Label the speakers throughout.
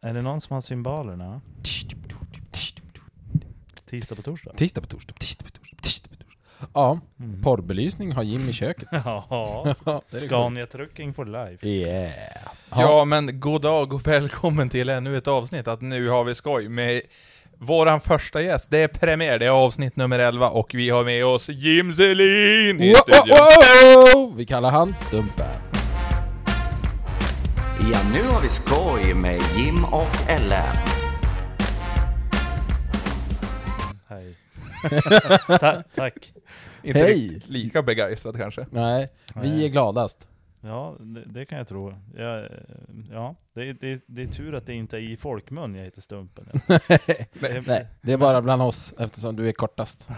Speaker 1: Är det någon som har symbolerna? Tisdag på torsdag?
Speaker 2: Tisdag på torsdag, tisdag på torsdag, tisdag på torsdag. Ja,
Speaker 1: Mm.
Speaker 2: porrbelysning har Jim i köket.
Speaker 1: Ja,
Speaker 2: Ja, det är det coolt.
Speaker 1: Scania Trucking for life.
Speaker 2: Yeah.
Speaker 3: Ja, men god dag och välkommen till ännu ett avsnitt att nu har vi skoj med våran första gäst. Det är premiär, det är avsnitt nummer 11 och vi har med oss Jim Selin i studion.
Speaker 2: Wow, wow, wow! Vi kallar han Stumpen.
Speaker 4: Ja, nu har vi skoj med Jim och Elle.
Speaker 1: Hej. Ta tack.
Speaker 3: Inte
Speaker 2: Hej.
Speaker 3: riktigt lika begeistrad kanske.
Speaker 2: Nej, vi är gladast.
Speaker 1: Ja, det, det kan jag tro. Ja, ja det, det, det är tur att det inte är i folkmun jag heter Stumpen.
Speaker 2: Nej, det är bara bland oss eftersom du är kortast.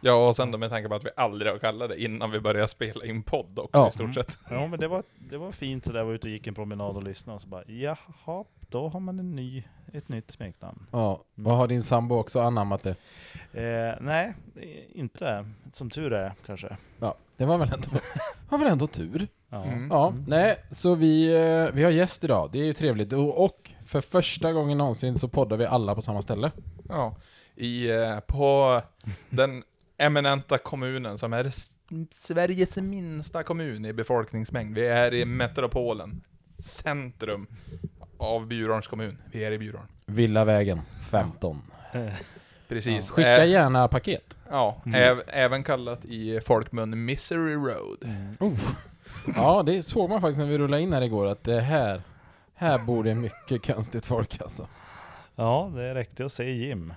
Speaker 3: Ja, och sen då med tanke på att vi aldrig har kallat det innan vi började spela in podd också
Speaker 2: Ja.
Speaker 3: i stort sett.
Speaker 1: Ja, men det var, det var fint sådär, jag var ute och gick en promenad och lyssnade och så bara jaha, då har man en ny, ett nytt smeknamn.
Speaker 2: Ja, och har din sambo också anammat det?
Speaker 1: Eh, nej, eh, inte. Som tur är kanske.
Speaker 2: Ja, det var väl ändå, var väl ändå tur.
Speaker 1: Ja.
Speaker 3: Mm.
Speaker 2: Ja, nej, så vi, eh, vi har gäst idag. Det är ju trevligt. Och och för första gången någonsin så poddar vi alla på samma ställe.
Speaker 3: Ja. I, eh, på den eminenta kommunen som är s- Sveriges minsta kommun i befolkningsmängd. Vi är i metropolen. Centrum av Bjurholms kommun. Vi är i Bjurholm.
Speaker 2: Villavägen 15.
Speaker 1: Mm.
Speaker 3: Precis.
Speaker 2: Skicka
Speaker 3: Ä-
Speaker 2: gärna paket.
Speaker 3: Ja, äv- även kallat i folkmun Misery Road.
Speaker 2: Ja, det såg man faktiskt när vi rullade in här igår att det här, här bor det mycket konstigt folk alltså.
Speaker 1: ja, det räckte att säga Jim.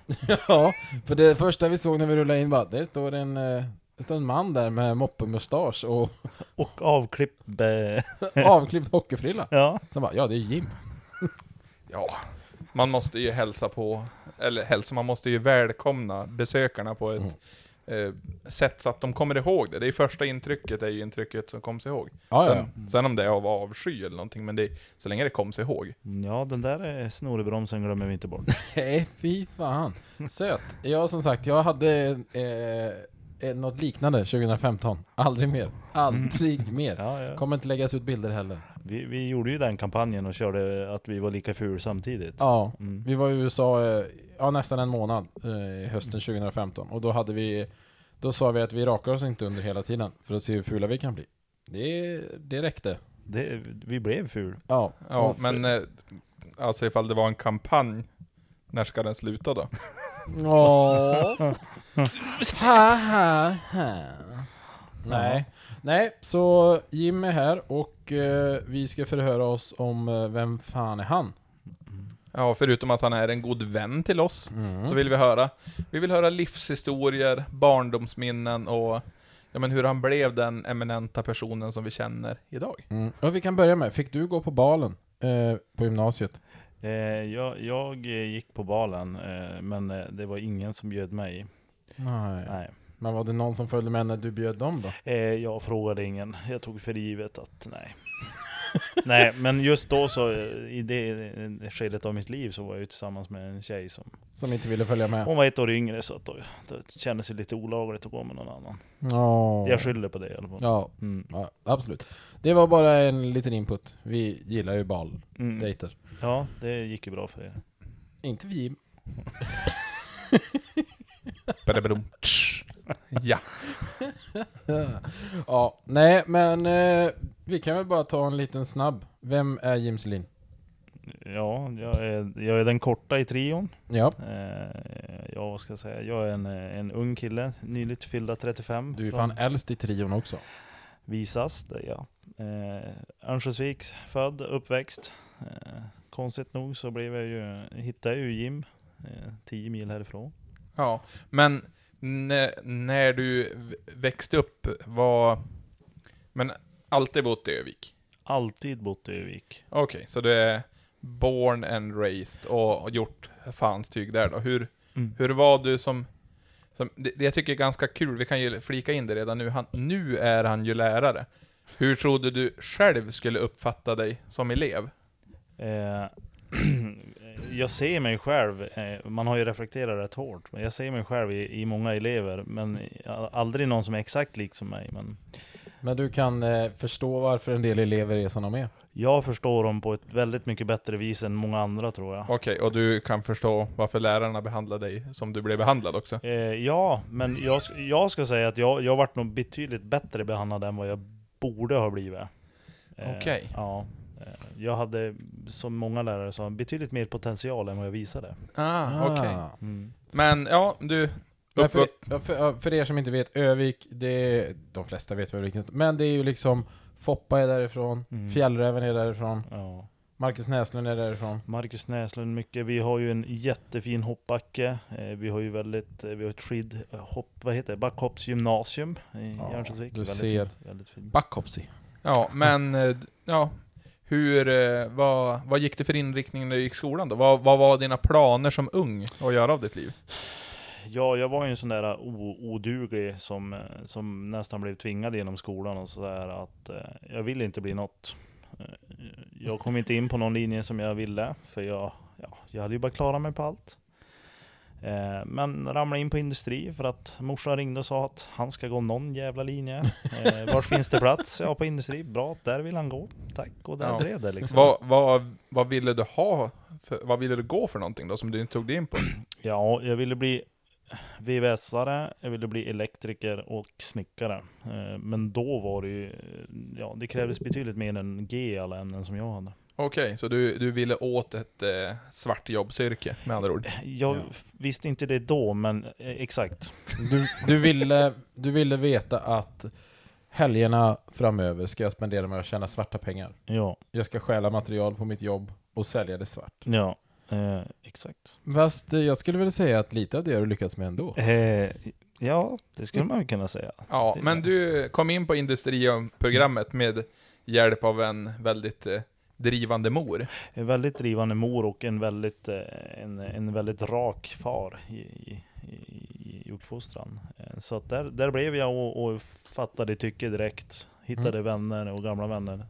Speaker 2: Ja, för det första vi såg när vi rullade in var att det står en, eh, det står en man där med moppemustasch och
Speaker 1: Och avklipp... Eh,
Speaker 2: avklippt hockeyfrilla.
Speaker 1: ja.
Speaker 2: Sen bara, ja det är Jim.
Speaker 3: Ja, man måste ju hälsa på, eller hälsa, man måste ju välkomna besökarna på ett eh, sätt så att de kommer ihåg det. Det är första intrycket, är ju intrycket som kommer sig ihåg.
Speaker 2: Ja, ja,
Speaker 3: sen, Mm. sen om det är av avsky eller någonting, men det är, så länge det kommer sig ihåg.
Speaker 1: ja, den där eh, snorebromsen glömmer vi inte bort.
Speaker 2: Nej, fy fan. Söt. Jag som sagt, jag hade eh, eh, något liknande 2015. Aldrig mer. Aldrig mer.
Speaker 1: Ja, ja.
Speaker 2: Kommer inte läggas ut bilder heller.
Speaker 1: Vi, vi gjorde ju den kampanjen och körde att vi var lika ful samtidigt.
Speaker 2: Ja,
Speaker 1: Mm.
Speaker 2: vi var i USA eh, ja, nästan en månad eh, hösten 2015 och då hade vi då sa vi att vi rakar oss inte under hela tiden för att se hur fula vi kan bli. Det, det räckte.
Speaker 1: Det, vi blev ful.
Speaker 2: Ja,
Speaker 3: Ja,
Speaker 2: Och-
Speaker 3: men eh, alltså ifall det var en kampanj, när ska den sluta då?
Speaker 2: Åh. ha, ha, ha. Nej. Nej, så Jim är här och eh, vi ska förhöra oss om eh, vem fan är han?
Speaker 3: Ja, förutom att han är en god vän till oss,
Speaker 2: Mm.
Speaker 3: så vill vi höra. Vi vill höra livshistorier, barndomsminnen och ja, men hur han blev den eminenta personen som vi känner idag.
Speaker 2: Mm. Och vi kan börja med, fick du gå på balen eh, på gymnasiet?
Speaker 1: Eh, jag, jag eh, gick på balen, eh, men eh, det var ingen som bjöd mig.
Speaker 2: Nej.
Speaker 1: Nej.
Speaker 2: Men var det någon som följde med när du bjöd dem då?
Speaker 1: Eh, jag frågade ingen. Jag tog för givet att nej. nej, men just då så, eh, i det eh, skedet av mitt liv så var jag ju tillsammans med en tjej som,
Speaker 2: Som inte ville följa med?
Speaker 1: hon var ett år yngre så att då, det kändes ju lite olagligt att gå med någon annan.
Speaker 2: Ja.
Speaker 1: Jag skyller på det i alla fall.
Speaker 2: Ja,
Speaker 1: Mm.
Speaker 2: ja, absolut. Det var bara en liten input. Vi gillar ju baldejter.
Speaker 1: Mm. Ja, det gick ju bra för er.
Speaker 2: Inte vi.
Speaker 3: Badabadum, tsch. Ja,
Speaker 2: Ja, nej men eh, vi kan väl bara ta en liten snabb. Vem är Jim Selin?
Speaker 1: Ja, jag är, jag är den korta i trion.
Speaker 2: Ja,
Speaker 1: Eh, ja, vad ska jag säga? Jag är en, eh, en ung kille, nyligt fyllda 35.
Speaker 2: du är
Speaker 1: från
Speaker 2: fan äldst i trion också.
Speaker 1: Visas, det är jag. Eh, Örnsköldsvik, född, uppväxt. Eh, konstigt nog så blev jag ju, hittade jag ju Jim, eh, 10 mil härifrån.
Speaker 3: ja. Men n- när du v- växte upp var... Men alltid bott i Övik?
Speaker 1: Alltid bott i Övik.
Speaker 3: Okej, så du är born and raised och och gjort fans tyg där då. Hur,
Speaker 1: Mm.
Speaker 3: hur var du som... som det, det jag tycker är ganska kul, vi kan ju flika in det redan nu, han, nu är han ju lärare. Hur trodde du själv skulle uppfatta dig som elev?
Speaker 1: Eh, jag ser mig själv, eh, man har ju reflekterat rätt hårt, men jag ser mig själv i, i många elever, men a- aldrig någon som är exakt lik som mig. Men
Speaker 2: Men du kan eh, förstå varför en del elever är som de är.
Speaker 1: Jag förstår dem på ett väldigt mycket bättre vis än många andra tror jag.
Speaker 3: Okej, och du kan förstå varför lärarna behandlar dig som du blev behandlad också?
Speaker 1: Eh, ja, men jag, sk- jag ska säga att jag, jag varit nog betydligt bättre behandlad än vad jag borde ha blivit. Eh,
Speaker 3: Okej.
Speaker 1: Ja. Eh, Jag hade, som många lärare sa, betydligt mer potential än vad jag visade.
Speaker 3: Ah, okej.
Speaker 1: Mm.
Speaker 3: Men ja, du...
Speaker 2: Men
Speaker 3: Upp,
Speaker 2: för,
Speaker 3: upp.
Speaker 2: ja, för, ja, för er som inte vet, Övik, det är, de flesta vet väl vilken Men det är ju liksom Foppa är därifrån,
Speaker 1: Mm.
Speaker 2: Fjällräven är därifrån,
Speaker 1: Ja.
Speaker 2: Marcus Näslund är därifrån.
Speaker 1: Marcus Näslund mycket. Vi har ju en jättefin hoppbacke. Eh, Vi har ju väldigt, eh, vi har ett skidhopp, vad heter det? Backhoppsgymnasium i
Speaker 2: Ja,
Speaker 1: Jönköping.
Speaker 2: du
Speaker 1: Väldigt
Speaker 2: ser.
Speaker 1: Fint, väldigt fint.
Speaker 2: Backopsi.
Speaker 3: Ja, men... eh, d- Ja. Hur... eh, Vad, vad gick du för inriktning när du gick skolan då? Vad, vad var dina planer som ung att göra av ditt liv?
Speaker 1: Ja, jag var ju en sån där eh, o- oduglig som, eh, som nästan blev tvingad genom skolan och sådär att eh, jag ville inte bli något. Eh, Jag kom inte in på någon linje som jag ville, för jag, ja, jag hade ju bara klarat mig på allt. Eh, Men ramlade in på industri för att morsan ringde och sa att han ska gå någon jävla linje. Eh, Var finns det plats? Ja, på industri. Bra, där vill han gå. Tack, och där
Speaker 3: Ja.
Speaker 1: drev det liksom.
Speaker 3: Vad, vad, vad ville du ha? För, vad ville du gå för någonting då som du inte tog dig in på?
Speaker 1: Ja, jag ville bli VVS-are, jag ville bli elektriker och snickare. Eh, Men då var det ju, eh, ja det krävdes betydligt mer än G i alla ämnen som jag hade.
Speaker 3: Okej, så du, du ville åt ett eh, svart jobbsyrke med andra ord?
Speaker 1: Jag
Speaker 2: Ja.
Speaker 1: visste inte det då, men eh, exakt.
Speaker 2: Du, du, ville, du ville veta att helgerna framöver ska jag spendera med att tjäna svarta pengar.
Speaker 1: Ja,
Speaker 2: Jag ska stjäla material på mitt jobb och sälja det svart.
Speaker 1: ja, eh, exakt.
Speaker 2: Fast eh, jag skulle vilja säga att lite av det har du lyckats med ändå.
Speaker 1: Eh, ja, det skulle man ju kunna säga.
Speaker 3: Ja,
Speaker 1: Det-
Speaker 3: men du kom in på industriprogrammet med hjälp av en väldigt eh, drivande mor.
Speaker 1: En väldigt drivande mor och en väldigt, eh, en, en väldigt rak far i, i, i- i uppfostran. Eh, Så att där, där blev jag och, och fattade tycke direkt. Hittade vänner och gamla vänner.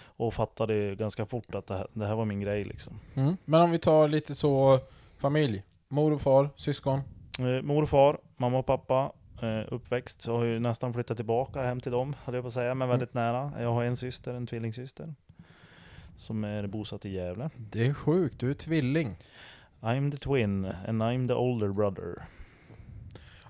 Speaker 1: Och fattade ganska fort att det här, det här var min grej liksom.
Speaker 2: Mm. Men om vi tar lite så familj. Mor och far, syskon.
Speaker 1: Eh, Mor och far, mamma och pappa. eh, Uppväxt, så har jag ju nästan flyttat tillbaka hem till dem, hade jag på att säga, men väldigt nära. Jag har en syster, en tvillingsyster. Som är bosatt i Gävle.
Speaker 2: Det är sjukt, du är tvilling.
Speaker 1: I'm the twin, and I'm the older brother.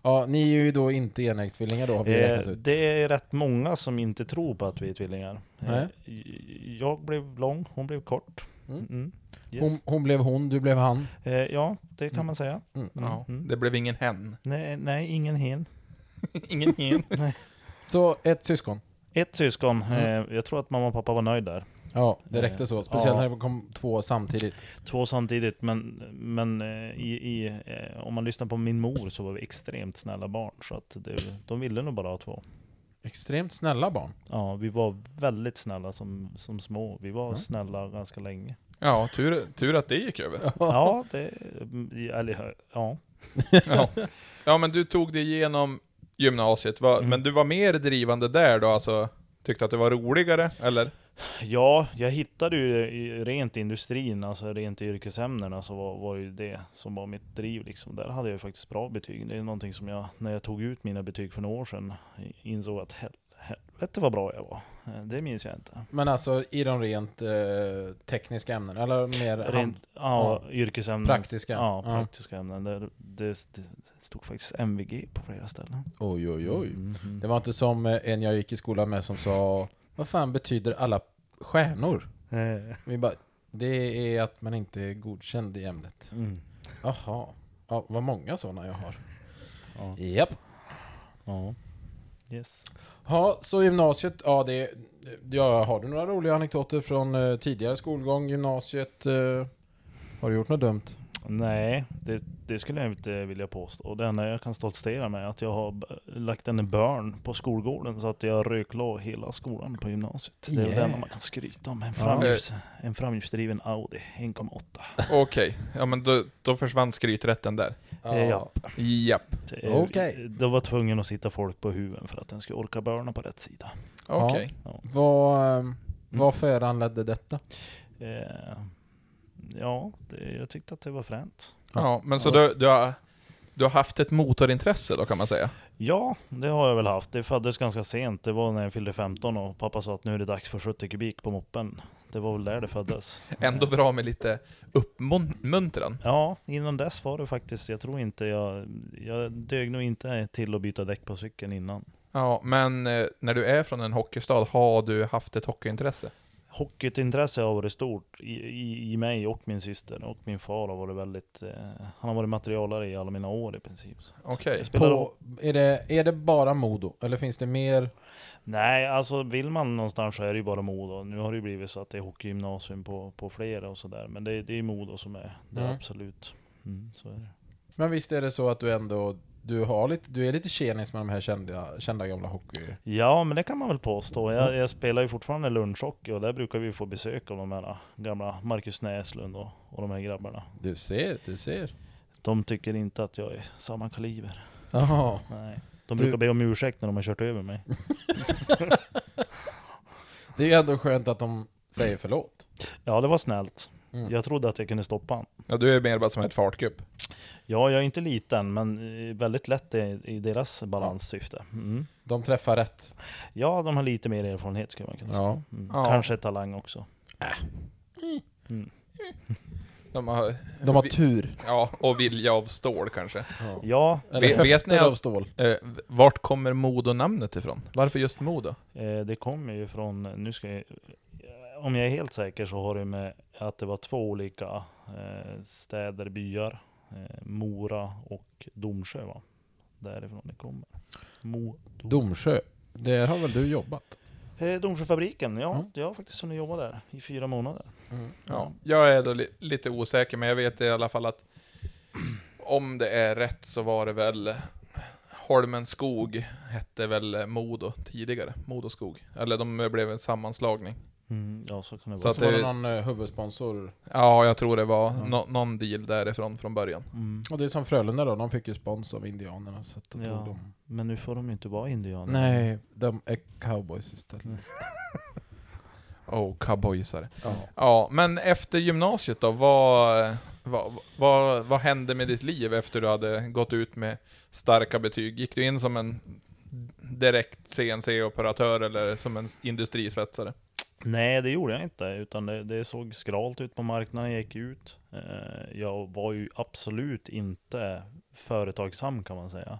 Speaker 2: Ja, ni är ju då inte enäggstvillingar då har vi
Speaker 1: Eh,
Speaker 2: räknat ut.
Speaker 1: det är rätt många som inte tror på att vi är tvillingar. Eh,
Speaker 2: Nej.
Speaker 1: j- Jag blev lång, hon blev kort.
Speaker 2: Mm.
Speaker 1: Mm. Yes.
Speaker 2: Hon, hon blev hon, du blev han.
Speaker 1: Eh, ja, det kan
Speaker 2: Mm.
Speaker 1: man säga.
Speaker 2: Mm.
Speaker 3: Ja,
Speaker 1: Mm.
Speaker 3: Det blev ingen hen.
Speaker 1: Nej, nej ingen hen.
Speaker 3: ingen hen.
Speaker 2: Så ett syskon.
Speaker 1: Ett syskon.
Speaker 2: Mm.
Speaker 1: Eh, jag tror att mamma och pappa var nöjda där.
Speaker 2: Ja, det räckte så. Speciellt
Speaker 1: Eh, Ja.
Speaker 2: när det kom två samtidigt.
Speaker 1: Två samtidigt, men, men eh, i, i, eh, om man lyssnar på min mor så var vi extremt snälla barn. Så att det, de ville nog bara ha två.
Speaker 2: Extremt snälla barn.
Speaker 1: Ja, vi var väldigt snälla som, som små. Vi var
Speaker 2: Ja.
Speaker 1: snälla ganska länge.
Speaker 3: Ja, tur, tur att det gick över.
Speaker 1: Ja, det, mm, eller, ja.
Speaker 3: Ja. ja, men du tog dig igenom gymnasiet. Va,
Speaker 1: Mm.
Speaker 3: Men du var mer drivande där då, alltså? Tyckte att det var roligare, eller?
Speaker 1: Ja, jag hittade ju i- rent industrin, alltså rent i yrkesämnena, så var, var ju det som var mitt driv. Liksom. Där hade jag ju faktiskt bra betyg. Det är någonting som jag, när jag tog ut mina betyg för några år sedan, insåg att hel- helvete vad bra jag var. Eh, Det minns jag inte.
Speaker 2: Men alltså i de rent eh, tekniska ämnena, eller mer
Speaker 1: Rent,
Speaker 2: hand-
Speaker 1: ja, yrkesämnen.
Speaker 2: Praktiska.
Speaker 1: Ja,
Speaker 2: mm, Ja.
Speaker 1: praktiska ämnen. Där, det, det stod faktiskt MVG på flera ställen.
Speaker 2: Oj, oj, oj.
Speaker 1: Mm, mm.
Speaker 2: Det var inte som eh, en jag gick i skolan med som sa Vad fan betyder alla stjärnor?
Speaker 1: Eh,
Speaker 2: Vi bara, det är att man inte är godkänd i ämnet.
Speaker 1: Mm.
Speaker 2: Jaha. Ja, vad många sådana jag har.
Speaker 1: Ja.
Speaker 2: Japp.
Speaker 1: Ja. Yes.
Speaker 2: Ja, så gymnasiet, ja det... eh, Ja, har du några roliga anekdoter från eh, tidigare skolgång, gymnasiet? Eh, har du gjort något dumt?
Speaker 1: Nej, det, det skulle jag inte vilja påstå. Det enda jag kan stoltsera med är att jag har b- lagt en burn på skolgården så att jag röklade hela skolan på gymnasiet. Det är
Speaker 2: Yeah.
Speaker 1: det enda man kan skryta om. En,
Speaker 2: Ja.
Speaker 1: framljus, en framljusdriven Audi 1,8.
Speaker 3: Okej, ja men då, då försvann skryträtten där.
Speaker 1: Ja.
Speaker 2: Eh,
Speaker 1: ja.
Speaker 3: Japp.
Speaker 1: Det är-
Speaker 2: Okej.
Speaker 1: Det var tvungen att sitta folk på huven för att den skulle orka burna på rätt sida.
Speaker 3: Okej.
Speaker 2: Vad, eh, vad föranledde detta?
Speaker 1: Eh, ja, det, jag tyckte att det var fränt.
Speaker 3: Ja, men så
Speaker 2: Ja.
Speaker 3: du, du, har, Du har haft ett motorintresse då kan man säga.
Speaker 1: Ja, det har jag väl haft. Det föddes ganska sent. Det var när jag fyllde 15 och pappa sa att nu är det dags för 70 kubik på moppen. Det var väl där det föddes.
Speaker 3: Ändå bra med lite uppmuntran.
Speaker 1: Ja, innan dess var det faktiskt, jag tror inte jag, jag dög nog inte till att byta däck på cykeln innan.
Speaker 3: Ja, men eh, när du är från en hockeystad, har du haft ett hockeyintresse?
Speaker 1: Hockeyintresse har varit stort i, i, i mig och min syster och min far har varit väldigt, eh, han har varit materialare i alla mina år i princip. Så
Speaker 3: Okej.
Speaker 1: jag spelar-
Speaker 2: På, är, det, är det bara Modo? Eller finns det mer?
Speaker 1: Nej, alltså vill man någonstans så är det ju bara Modo. Nu har det ju blivit så att det är hockeygymnasium på, på flera och sådär. Men det, det är Modo som är det
Speaker 2: Mm.
Speaker 1: absolut. Mm, så är det.
Speaker 2: Men visst är det så att du ändå, du har lite, du är lite tjenis med de här kända, kända gamla hockey...
Speaker 1: Ja, men det kan man väl påstå. Jag, jag spelar ju fortfarande lunchhockey och där brukar vi få besök av de här gamla Marcus Näslund och, och de här grabbarna.
Speaker 2: Du ser, du ser.
Speaker 1: De tycker inte att jag är samma kaliber.
Speaker 2: Jaha.
Speaker 1: Nej. De
Speaker 2: Du-
Speaker 1: brukar be om ursäkt när de har kört över mig.
Speaker 2: Det är ju ändå skönt att de säger förlåt.
Speaker 1: Ja, det var snällt.
Speaker 2: Mm.
Speaker 1: Jag trodde att jag kunde stoppa han.
Speaker 3: Ja, du är mer bara som ett fartgupp.
Speaker 1: Ja, jag är inte liten, men eh, väldigt lätt i, i deras balanssyfte. Mm.
Speaker 2: De träffar rätt.
Speaker 1: Ja, de har lite mer erfarenhet skulle man kunna säga.
Speaker 2: Ja.
Speaker 1: Mm.
Speaker 3: Ja.
Speaker 1: Kanske talang också.
Speaker 3: De har,
Speaker 2: De har
Speaker 3: vi-
Speaker 2: tur.
Speaker 3: Ja, och vilja av stål kanske.
Speaker 2: Ja.
Speaker 1: Ja,
Speaker 2: Eller
Speaker 3: Vet- vet
Speaker 2: höfter
Speaker 3: ni att-
Speaker 2: av stål.
Speaker 3: Eh, v- vart kommer Modo-namnet ifrån? Varför just Modo?
Speaker 1: eh, det kommer ju från, nu ska jag, eh, om jag är helt säker så har det med att det var två olika eh, städer, byar, eh, Mora och Domsjö va? Därifrån det kommer. Mo, Dom.
Speaker 2: Domsjö. Där har väl du jobbat?
Speaker 1: Eh, Domsjöfabriken, ja,
Speaker 2: Mm.
Speaker 1: jag har faktiskt hunnit jobba där i fyra månader.
Speaker 3: Mm. Ja, jag är då li lite osäker, men jag vet i alla fall att om det är rätt så var det väl Holmen skog hette väl Modo tidigare, Modo skog. Eller de blev en sammanslagning.
Speaker 1: Mm, ja, så kan det
Speaker 3: Så
Speaker 1: vara.
Speaker 3: att
Speaker 2: Så var det
Speaker 3: det-
Speaker 2: någon eh, huvudsponsor.
Speaker 3: Ja, jag tror det var
Speaker 2: Ja.
Speaker 3: nå- någon deal därifrån från början.
Speaker 1: Mm.
Speaker 2: Och det är som Frölunda då, de fick ju spons av indianerna så att då
Speaker 1: Ja.
Speaker 2: tog de...
Speaker 1: Men nu får de ju inte vara indianer.
Speaker 2: Nej, de är cowboys istället.
Speaker 3: Oh, cowboysare.
Speaker 2: Ja.
Speaker 3: Ja, men efter gymnasiet då, vad, vad, vad, vad hände med ditt liv efter du hade gått ut med starka betyg? Gick du in som en direkt CNC-operatör eller som en industrisvetsare?
Speaker 1: Nej, det gjorde jag inte. Utan det, det såg skralt ut på marknaden. Jag gick ut. Eh, Jag var ju absolut inte företagsam kan man säga.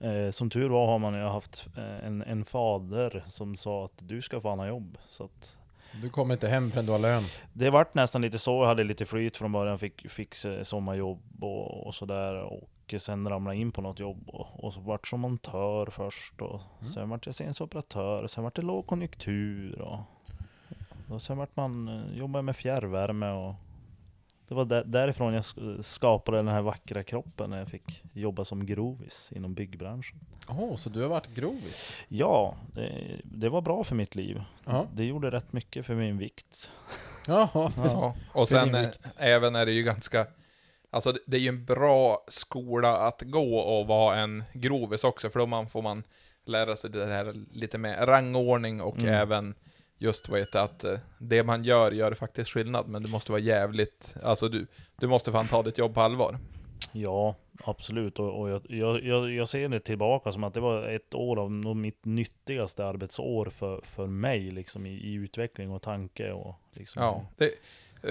Speaker 1: Eh, Som tur var har man ju haft eh, en, en fader som sa att du ska fan ha jobb. Så att
Speaker 2: Du kommer inte hem förrän du har lön.
Speaker 1: det vart nästan lite så. Jag hade lite flyt från början. Fick, fick eh, sommarjobb och, och sådär. Och sen ramlade jag in på något jobb. Och, och så vart som montör först. Och
Speaker 2: Mm.
Speaker 1: Sen vart jag scensoperatör. Sen vart det lågkonjunktur. Och, och sen vart man, eh, jobbade med fjärrvärme. Och, det var där, därifrån jag sk- skapade den här vackra kroppen när jag fick jobba som grovis inom byggbranschen.
Speaker 2: Åh, så du har varit grovis?
Speaker 1: Ja, det, det var bra för mitt liv.
Speaker 2: Ja.
Speaker 1: Det gjorde rätt mycket för min vikt.
Speaker 2: Jaha.
Speaker 3: Ja. Och
Speaker 2: Det är
Speaker 3: sen eh,
Speaker 2: rimligt.
Speaker 3: även är det ju ganska, alltså det- det är ju en bra skola att gå och vara en grovis också, för då man får man lära sig det här lite med rangordning och
Speaker 1: Mm.
Speaker 3: även just vad heter det, att eh, det man gör gör faktiskt skillnad, men du måste vara jävligt, alltså du, du måste fan ta ditt jobb på allvar.
Speaker 1: Ja, absolut. Och, och jag, jag, jag, jag ser det tillbaka som att det var ett år av nog mitt nyttigaste arbetsår för, för mig liksom, i, i utveckling och tanke. Och, liksom.
Speaker 3: Ja.
Speaker 2: Mm.
Speaker 3: Det,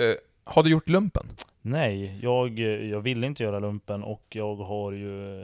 Speaker 3: eh, har du gjort lumpen?
Speaker 1: Nej, jag, jag ville inte göra lumpen och jag har ju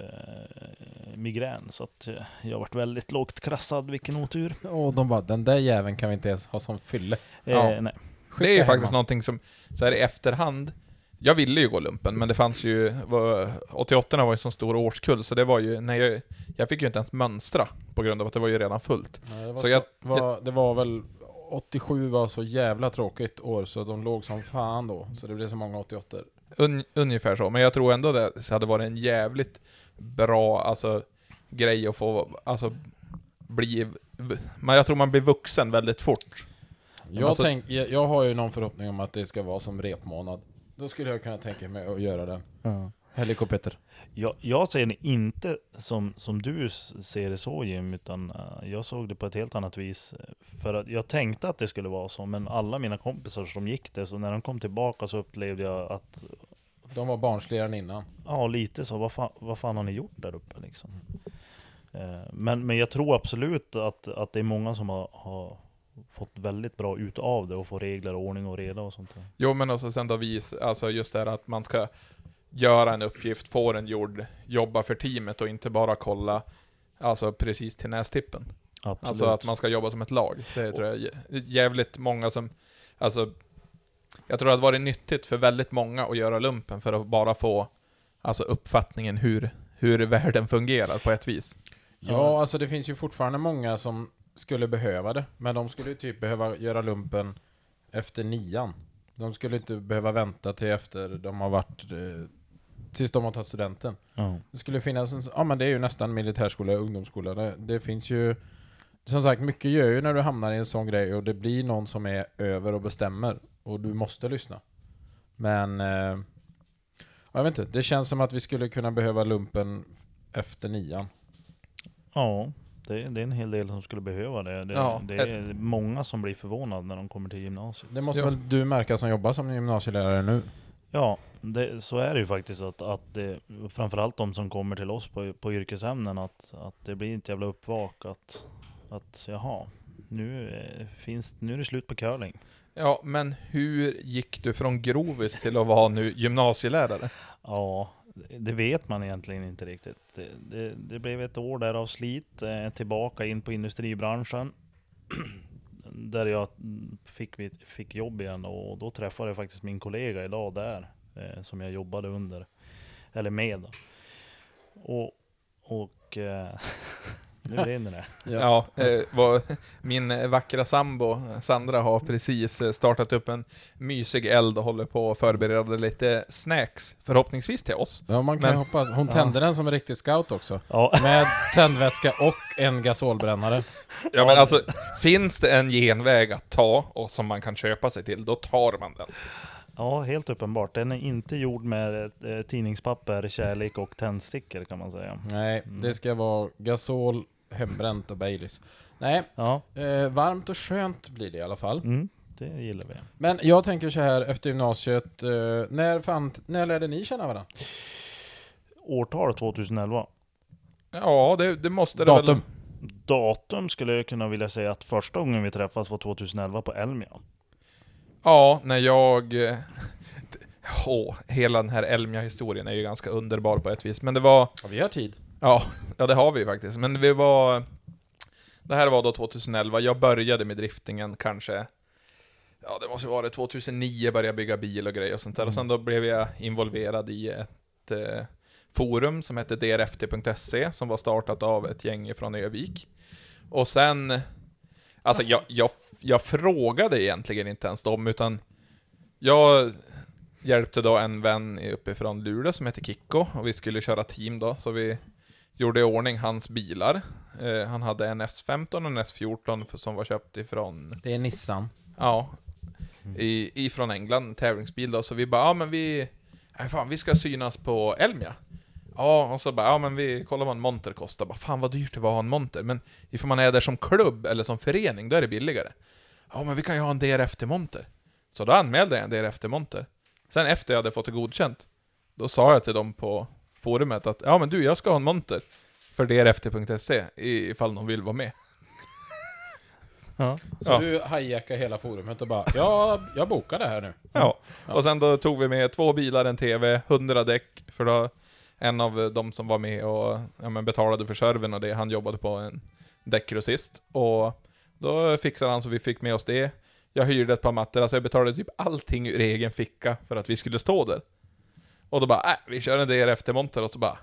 Speaker 1: eh, migrän. Så att eh, jag har varit väldigt lågt klassad, vilken otur.
Speaker 2: Och de bara, den där jäveln kan vi inte ens ha som fylle.
Speaker 1: Eh,
Speaker 3: Ja.
Speaker 1: nej.
Speaker 2: Skicka
Speaker 3: Det är ju
Speaker 2: hem
Speaker 3: faktiskt
Speaker 2: han.
Speaker 3: någonting som, så här i efterhand, jag ville ju gå lumpen, men det fanns ju, var- 88 var ju en sån stor årskull, så det var ju, nej jag, jag fick ju inte ens mönstra på grund av att det var ju redan fullt.
Speaker 2: Nej, det, var så
Speaker 3: Så jag-
Speaker 2: var, det var väl 87 var så jävla tråkigt år så de låg som fan då. Så det blev så många 88
Speaker 3: Un, ungefär så, men jag tror ändå det så hade varit en jävligt bra, alltså, grej att få, alltså, bli, men jag tror man blir vuxen väldigt fort.
Speaker 2: jag,
Speaker 3: alltså-
Speaker 2: tänk, jag, jag har ju någon förhoppning om att det ska vara som repmånad. Då skulle jag kunna tänka mig att göra den.
Speaker 1: Ja.
Speaker 2: Helikopter.
Speaker 1: Jag, jag ser det inte som, som du s- ser det så Jim, utan eh, jag såg det på ett helt annat vis. För att jag tänkte att det skulle vara så, men alla mina kompisar som gick det, så när de kom tillbaka så upplevde jag att
Speaker 2: De var barnsligare än innan.
Speaker 1: Ja, lite så. Vad fan, vad fan har ni gjort där uppe liksom? Eh, Men, men jag tror absolut att, att det är många som har, har fått väldigt bra ut av det och få regler och ordning och reda och sånt där.
Speaker 3: Jo men också sen då vis, alltså just det här att man ska göra en uppgift, få den gjord, jobba för teamet och inte bara kolla Alltså precis till nästippen.
Speaker 1: Absolut.
Speaker 3: Alltså att man ska jobba som ett lag. Det tror jag är jä- jävligt många som, alltså jag tror det hade varit nyttigt för väldigt många att göra lumpen för att bara få alltså uppfattningen hur, hur världen fungerar på ett vis.
Speaker 2: Ja,
Speaker 1: Ja.
Speaker 2: alltså det finns ju fortfarande många som skulle behöva det. Men de skulle ju typ behöva göra lumpen efter nian. De skulle inte behöva vänta till efter de har varit... Eh, tills de har tagit studenten.
Speaker 1: ja.
Speaker 2: Det skulle finnas en... Ja men det är ju nästan militärskola och ungdomsskola. Det, det finns ju... Som sagt, mycket gör ju när du hamnar i en sån grej och det blir någon som är över och bestämmer. Och du måste lyssna. Men... Eh, ja, jag vet inte, det känns som att vi skulle kunna behöva lumpen efter nian.
Speaker 1: ja det, det är en hel del som skulle behöva det. Det,
Speaker 3: Ja,
Speaker 1: det är många som blir förvånade när de kommer till gymnasiet.
Speaker 2: Det måste
Speaker 3: Ja.
Speaker 2: väl du märka som jobbar som gymnasielärare nu?
Speaker 1: Ja, det, så är det ju faktiskt. Att, att det, framförallt de som kommer till oss på, på yrkesämnen, att, att det blir ett jävla uppvak att, att jaha, nu, eh, finns, nu är det slut på curling.
Speaker 3: Ja, men hur gick du från grovis till att vara nu gymnasielärare?
Speaker 1: Ja, det vet man egentligen inte riktigt. Det, det, det blev ett år där av slit, eh, tillbaka in på industribranschen. där jag mm, fick, mitt- fick jobb igen och då träffade jag faktiskt min kollega idag där, eh, som jag jobbade under, eller med. då. Och, och eh, nu rinner det.
Speaker 3: Ja, eh, vad, min vackra sambo Sandra har precis eh, startat upp en mysig eld och håller på att förbereda lite snacks, förhoppningsvis till oss.
Speaker 2: Ja, man kan
Speaker 3: Men-
Speaker 2: hoppas. Hon tände den som en riktig scout också.
Speaker 1: Ja,
Speaker 2: Med tändvätska och en gasolbrännare.
Speaker 3: Ja men alltså, finns det en genväg att ta och som man kan köpa sig till, då tar man den.
Speaker 1: ja, helt uppenbart. Den är inte gjord med eh, tidningspapper, kärlek och tändstickor kan man säga.
Speaker 2: Nej, det ska vara gasol, hembränt och Baileys. Nej,
Speaker 1: Ja,
Speaker 2: eh, varmt och skönt blir det i alla fall.
Speaker 1: mm, det gillar vi.
Speaker 2: Men jag tänker så här efter gymnasiet, eh, när, fan, när lärde ni känna varandra?
Speaker 1: Årtal 2011.
Speaker 3: Ja, det, det måste det
Speaker 2: Datum?
Speaker 3: väl.
Speaker 1: Datum skulle jag kunna vilja säga att första gången vi träffas var 2011 på Elmia.
Speaker 3: Ja, när jag... eh, Åh, hela den här Elmia-historien är ju ganska underbar på ett vis, men det var...
Speaker 2: Ja, vi har tid.
Speaker 3: Ja, ja det har vi ju faktiskt. Men vi var... Det här var då 2011, jag började med driftingen kanske... Ja, det måste ju vara det. 2009 började jag bygga bil och grejer och sånt där. Och sen då blev jag involverad i ett eh, forum som hette drft.se, E, som var startat av ett gäng från Övik. Och sen... Alltså jag, jag, jag frågade egentligen inte ens dem, utan... Jag hjälpte då en vän uppifrån Luleå som heter Kikko, och vi skulle köra team då, så vi gjorde i ordning hans bilar. Eh, han hade en S15 och en S14 för, som var köpt ifrån,
Speaker 2: Det är Nissan.
Speaker 3: ja, i, ifrån England, en tävlingsbil då, så vi bara, ja men vi, nej fan vi ska synas på Elmia. Ja, och så bara, ja men vi kollar vad en monter kostar, bara fan vad dyrt det var att ha en monter, men ifall man är där som klubb eller som förening, då är det billigare. Ja men vi kan ju ha en DRFT-monter. Så då anmälde jag en DRFT-monter. Sen efter jag hade fått det godkänt, då sa jag till dem på forumet att ja men du, jag ska ha en monter för drft.se E, i- ifall någon vill vara med.
Speaker 1: Ja.
Speaker 2: Så
Speaker 3: Ja.
Speaker 2: du hijackar hela forumet och bara ja, jag bokar det här nu.
Speaker 3: Ja. Och sen då tog vi med två bilar, en TV, 100 däck, för då en av eh, de som var med och ja, men betalade för serven och det, han jobbade på en däckgrossist. Och då fixade han så vi fick med oss det. Jag hyrde ett par mattor, alltså jag betalade typ allting ur egen ficka för att vi skulle stå där. Och då bara, äh, vi kör en DRFT-monter och så bara,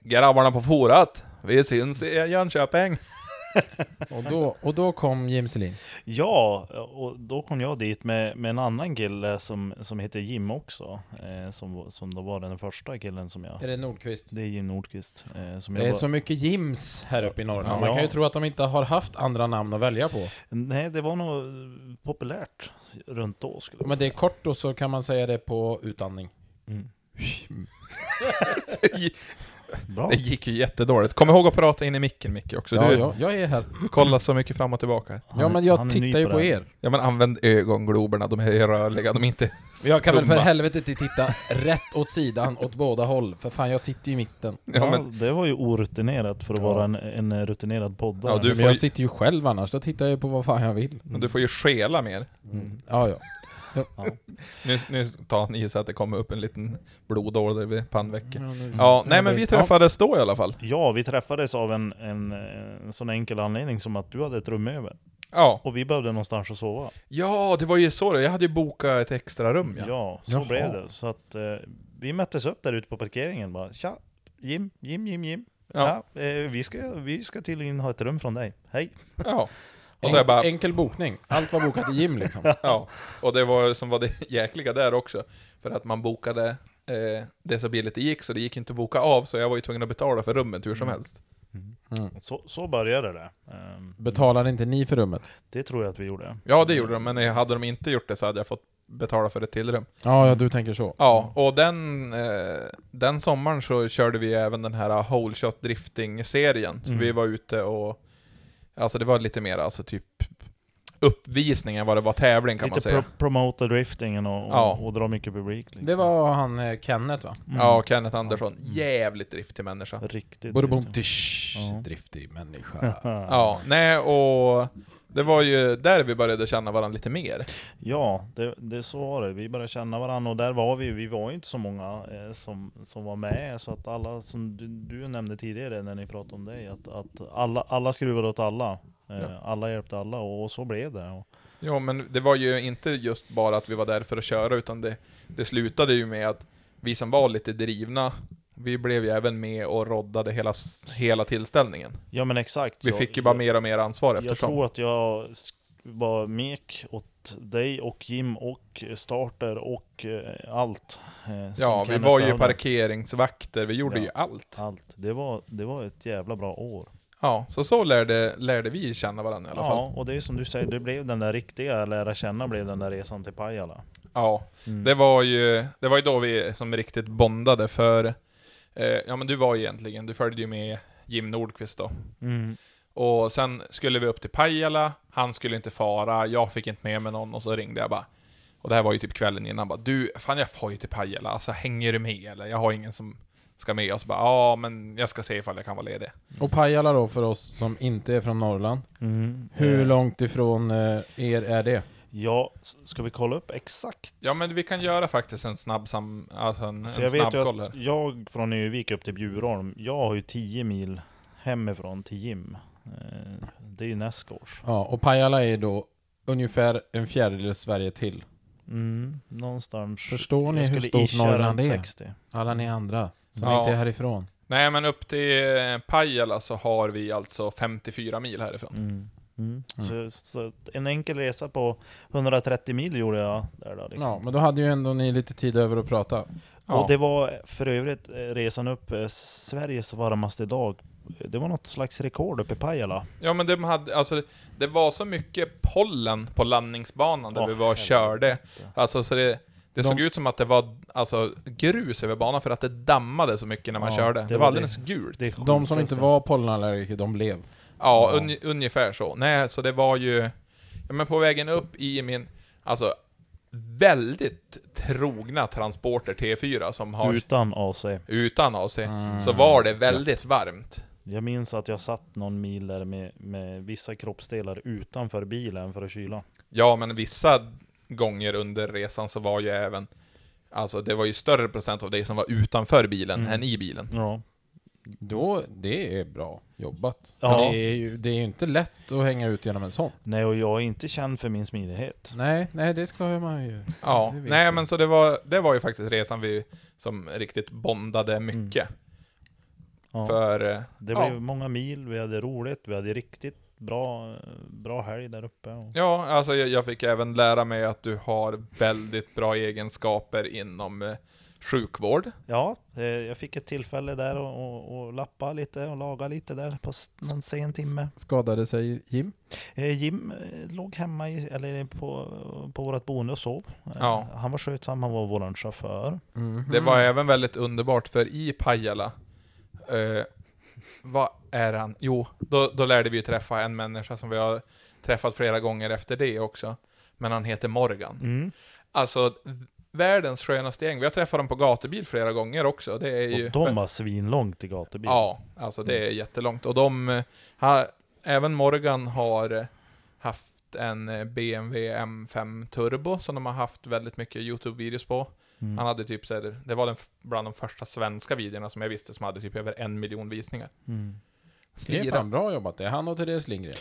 Speaker 3: grabbarna på forat, vi syns i Jönköping.
Speaker 2: Och då, och då kom Jim Selin.
Speaker 1: Ja, och då kom jag dit med, med en annan kille som, som heter Jim också. Eh, som, som då var den första killen som jag...
Speaker 2: Är det Nordqvist?
Speaker 1: Det är Jim Nordqvist. Eh, som jag
Speaker 2: Det är
Speaker 1: var-
Speaker 2: så mycket Jims här uppe i Norrland.
Speaker 1: Ja.
Speaker 2: Man kan ju tro att de inte har haft andra namn att välja
Speaker 3: Mm.
Speaker 2: på.
Speaker 1: Nej, det var nog eh, populärt runt då skulle jag
Speaker 2: Men det är
Speaker 1: säga.
Speaker 2: kort
Speaker 3: Mm.
Speaker 2: och så kan man säga det på utandning.
Speaker 1: Mm. Bra.
Speaker 3: Det gick ju jättedåligt. Kom ihåg att prata in i micken Micke också.
Speaker 2: Ja,
Speaker 3: du
Speaker 2: ja, jag är här.
Speaker 3: kollar så mycket fram och tillbaka. här.
Speaker 1: Han
Speaker 2: Ja,
Speaker 1: är-
Speaker 2: men jag
Speaker 1: han är ny
Speaker 2: tittar ju
Speaker 1: det
Speaker 2: på
Speaker 1: här.
Speaker 2: er.
Speaker 3: Ja men använd ögongloberna, de är rörliga, de är inte
Speaker 2: Men jag kan väl för
Speaker 3: stumma.
Speaker 2: helvete inte titta rätt åt sidan åt båda håll, för fan jag sitter ju i mitten.
Speaker 1: Ja,
Speaker 3: Ja, men,
Speaker 1: Det var ju orutinerat för att vara en, en rutinerad poddare.
Speaker 3: Ja, du-
Speaker 2: Men
Speaker 3: får
Speaker 2: jag
Speaker 3: ju-
Speaker 2: sitter ju själv annars, då tittar jag ju på vad fan jag vill. Mm.
Speaker 3: men du får ju skela mer.
Speaker 2: Ja, ja.
Speaker 3: Nu, nu tar han i så att det kommer upp en liten blodåder vid pannvecket.
Speaker 2: nu-
Speaker 3: Mm. Ja, nej men vi träffades då i alla fall.
Speaker 1: Ja, vi träffades av en, en, en sån enkel anledning som att du hade ett rum över.
Speaker 3: Ja.
Speaker 1: Och vi behövde någonstans att sova.
Speaker 3: ja, det var ju så det. Jag hade ju bokat ett extra rum
Speaker 1: Ja,
Speaker 3: ja.
Speaker 1: så
Speaker 2: Jaha.
Speaker 1: blev det. Så att eh, vi möttes upp där ute på parkeringen bara. Tja, Jim, Jim, Jim, Jim.
Speaker 3: Ja.
Speaker 1: Ja. eh, vi, ska, vi ska tydligen ha ett rum från dig. Hej.
Speaker 3: ja. Och så jag
Speaker 2: Enk,
Speaker 3: bara,
Speaker 2: enkel bokning. Allt var bokat i gym liksom.
Speaker 3: ja. Och det var som var det jäkliga där också. För att man bokade eh, det så billigt det gick, så det gick inte att boka av, så jag var ju tvungen att betala för rummet hur som helst.
Speaker 1: Så, så började det. Ehm,
Speaker 2: Betalade Mm. inte ni för rummet?
Speaker 1: det tror jag att vi gjorde.
Speaker 3: Ja, det gjorde de, men hade de inte gjort det så hade jag fått betala för ett till rum.
Speaker 2: Ja, ja du tänker så.
Speaker 3: Ja, och den, eh, den sommaren så körde vi även den här whole shot drifting-serien. Så
Speaker 1: Mm.
Speaker 3: vi var ute och... Alltså det var lite mer alltså typ uppvisning än vad det var tävling kan man
Speaker 1: Lite
Speaker 3: säga.
Speaker 1: pro promota driftingen och, och,
Speaker 3: Ja.
Speaker 1: och dra mycket publik. Liksom.
Speaker 2: Det var han eh, Kenneth va?
Speaker 1: Mm.
Speaker 3: Ja, Kenneth Andersson. Jävligt driftig människa.
Speaker 1: Riktigt.
Speaker 2: Borbom
Speaker 1: riktigt. Ja.
Speaker 2: driftig människa.
Speaker 3: Ja, nej och... Det var ju där vi började känna varandra lite mer.
Speaker 1: Ja, det, det så var det. Vi började känna varandra och där var vi. Vi var ju inte så många eh, som, som var med. Så att alla, som du, du nämnde tidigare när ni pratade om dig, att, att alla, alla skruvade åt alla. Eh,
Speaker 3: Ja.
Speaker 1: Alla hjälpte alla och, och så blev det. Och,
Speaker 3: Jo, men det var ju inte just bara att vi var där för att köra, utan det, det slutade ju med att vi som var lite drivna, vi blev ju även med och roddade hela, s- hela tillställningen.
Speaker 1: ja men exakt.
Speaker 3: Vi
Speaker 1: Jag-
Speaker 3: fick ju bara
Speaker 1: jag-
Speaker 3: mer och mer ansvar
Speaker 1: Jag
Speaker 3: eftersom.
Speaker 1: tror att jag sk- var mek åt dig och Jim och eh, starter och eh, allt. eh, som
Speaker 3: ja, vi
Speaker 1: Kenneth
Speaker 3: var ju
Speaker 1: behövde.
Speaker 3: parkeringsvakter, vi gjorde
Speaker 1: Ja.
Speaker 3: ju allt.
Speaker 1: Allt. Det var, det var ett jävla bra år.
Speaker 3: Ja, så så lärde, lärde vi känna varandra i alla fall.
Speaker 1: Ja, och det är som du säger, det blev den där riktiga lära känna blev den där resan till Pajala.
Speaker 3: Ja,
Speaker 1: Mm.
Speaker 3: det var ju, det var ju då vi som riktigt bondade för, eh, ja men du var ju egentligen, du följde ju med Jim Nordqvist då.
Speaker 1: Mm.
Speaker 3: Och sen skulle vi upp till Pajala, han skulle inte fara, jag fick inte med mig någon och så ringde jag bara. Och det här var ju typ kvällen innan, bara du, fan jag får ju till Pajala, alltså hänger du med eller? Jag har ingen som ska med. Och så bara, ja men jag ska se ifall jag kan vara ledig.
Speaker 2: Och Pajala då för oss som inte är från Norrland.
Speaker 1: Mm.
Speaker 2: Hur
Speaker 1: Eh,
Speaker 2: långt ifrån eh, er är det?
Speaker 1: Ja, s- ska vi kolla upp exakt?
Speaker 3: Ja men vi kan göra faktiskt en snabb sam, alltså en,
Speaker 1: För jag
Speaker 3: en
Speaker 1: vet ju
Speaker 3: snabbkoll
Speaker 1: att
Speaker 3: här.
Speaker 1: jag från Ö-vik upp till Bjurholm, jag har ju 10 mil hemifrån till Jim. Eh, Det är ju nästgårds.
Speaker 2: Ja, och Pajala är då ungefär en fjärdedel Sverige till.
Speaker 1: Mm, någonstans.
Speaker 2: Förstår ni
Speaker 1: jag
Speaker 2: hur
Speaker 1: skulle
Speaker 2: stort
Speaker 1: ischa
Speaker 2: Norrland
Speaker 1: runt
Speaker 2: är?
Speaker 1: 60.
Speaker 2: Alla ni andra som
Speaker 3: Ja.
Speaker 2: inte är härifrån.
Speaker 3: Nej men upp till eh, Pajala så har vi alltså 54 mil härifrån.
Speaker 1: Mm. Mm. Så, så en enkel resa på 130 mil gjorde jag där då liksom.
Speaker 2: Ja, men då hade ju ändå ni lite tid över att prata.
Speaker 3: Ja.
Speaker 1: Och det var för övrigt eh, resan upp, eh, Sveriges varmaste dag. Det var något slags rekord uppe i Pajala.
Speaker 3: Ja men de hade, alltså, det var så mycket pollen på landningsbanan där
Speaker 1: Åh,
Speaker 3: vi var och körde. Alltså så det, det
Speaker 2: De-
Speaker 3: såg ut som att det var alltså, grus över banan för att det dammade så mycket när man
Speaker 1: Ja,
Speaker 3: körde. Det,
Speaker 1: det
Speaker 3: var
Speaker 1: var
Speaker 3: alldeles gult.
Speaker 1: Det är
Speaker 2: De som
Speaker 1: sjukaste.
Speaker 2: inte var pollenallergiker, de blev.
Speaker 3: Ja,
Speaker 1: Ja.
Speaker 3: Un, ungefär så. Nej, så det var ju... Ja, men på vägen upp i min, alltså, väldigt trogna transporter T4 som har
Speaker 1: Utan AC.
Speaker 3: utan AC,
Speaker 1: Ah,
Speaker 3: så var det väldigt varmt.
Speaker 1: Jag minns att jag satt någon mil där med, med vissa kroppsdelar utanför bilen för att kyla.
Speaker 3: Ja, men vissa gånger under resan så var ju även, alltså det var ju större procent av dig som var utanför bilen än i bilen.
Speaker 1: Ja.
Speaker 2: Då, det är bra jobbat.
Speaker 1: Ja.
Speaker 2: För Det, är ju, det är ju inte lätt att hänga ut genom en sån.
Speaker 1: Nej, och jag är inte känd för min smidighet.
Speaker 2: Nej, nej det ska man ju.
Speaker 3: Ja,
Speaker 2: Det vet
Speaker 3: nej
Speaker 2: jag.
Speaker 3: men så det var, det var ju faktiskt resan vi som riktigt bondade mycket.
Speaker 1: Ja.
Speaker 3: För, eh,
Speaker 1: Det
Speaker 3: ja,
Speaker 1: blev många mil, vi hade roligt, vi hade riktigt bra, bra helg där uppe. Och...
Speaker 3: ja, alltså jag, jag fick även lära mig att du har väldigt bra egenskaper inom eh, sjukvård.
Speaker 1: Ja, eh, jag fick ett tillfälle där och, och, och lappa lite och laga lite där på s- någon sen timme.
Speaker 2: Skadade sig Jim?
Speaker 1: Eh, Jim eh, låg hemma i, eller på, på vårt boende och sov. Eh,
Speaker 3: Ja.
Speaker 1: Han var
Speaker 2: Mhm.
Speaker 1: skötsam, han var vår chaufför.
Speaker 3: Det var även väldigt underbart för i Pajala Eh, vad är han? Jo, då, då lärde vi ju träffa en människa som vi har träffat flera gånger efter det också. Men han heter Morgan.
Speaker 1: Mm.
Speaker 3: Alltså, världens skönaste gäng. Vi har träffat dem på gatubil flera gånger också. Det är ju...
Speaker 1: Och de Mm. var svinlångt till gatubil.
Speaker 3: Ja, alltså det är jättelångt. Och de, eh, har, även Morgan har eh, haft en eh, BMW M5 Turbo som de har haft väldigt mycket YouTube-videos på.
Speaker 1: Mm.
Speaker 3: Han hade typ så här, det var den, f- bland de första svenska videorna som jag visste som hade typ över en miljon visningar.
Speaker 1: Mm.
Speaker 2: Det är
Speaker 3: Slira.
Speaker 2: fan bra jobbat det. Han och Therese Lindgren.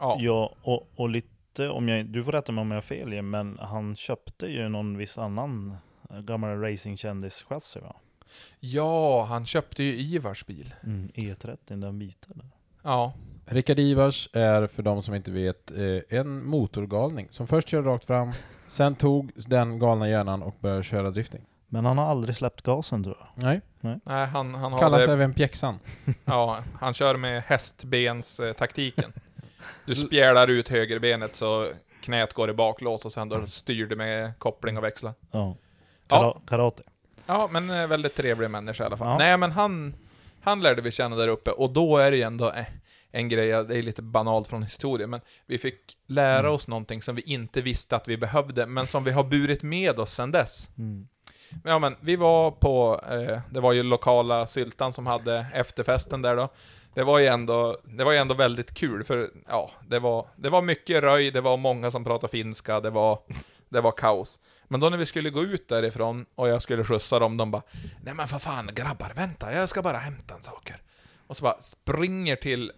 Speaker 3: Ja.
Speaker 1: Ja, och, och lite om jag, du får rätta mig om jag har fel Jim, men han köpte ju någon viss annan eh, gammal racingkändis-chassi va?
Speaker 3: ja, han köpte ju Ivars bil.
Speaker 1: Mm, E30, den vita där.
Speaker 3: Ja,
Speaker 2: Rickard Ivars är, för de som inte vet, eh, en motorgalning som först körde rakt fram, sen tog den galna hjärnan och började köra drifting.
Speaker 1: Men han har aldrig släppt gasen tror jag.
Speaker 2: Nej.
Speaker 3: nej han, han har
Speaker 2: Kallas
Speaker 3: det,
Speaker 2: även Pjäxan.
Speaker 3: ja, han kör med hästbens-taktiken. Du spjälar ut högerbenet så knät går i baklås och sen då styr du med koppling och växlar.
Speaker 1: Ja.
Speaker 3: Ja.
Speaker 1: Kara- Karate.
Speaker 3: Ja, men eh, väldigt trevlig människa i alla fall.
Speaker 1: Ja.
Speaker 3: Nej, men han, han lärde vi känna där uppe och då är det ju ändå eh, en grej, ja, det är lite banalt från historien, men vi fick lära
Speaker 1: Mm.
Speaker 3: oss någonting som vi inte visste att vi behövde, men som vi har burit med oss sedan dess.
Speaker 1: Mm.
Speaker 3: Ja, men vi var på, eh, det var ju lokala syltan som hade efterfesten där då. Det var ju ändå, det var ju ändå väldigt kul, för ja, det var, det var mycket röj, det var många som pratade finska, det var, det var kaos. Men då när vi skulle gå ut därifrån och jag skulle skjutsa dem, de bara Nej men för fan grabbar, vänta, jag ska bara hämta en saker. Och så bara springer till,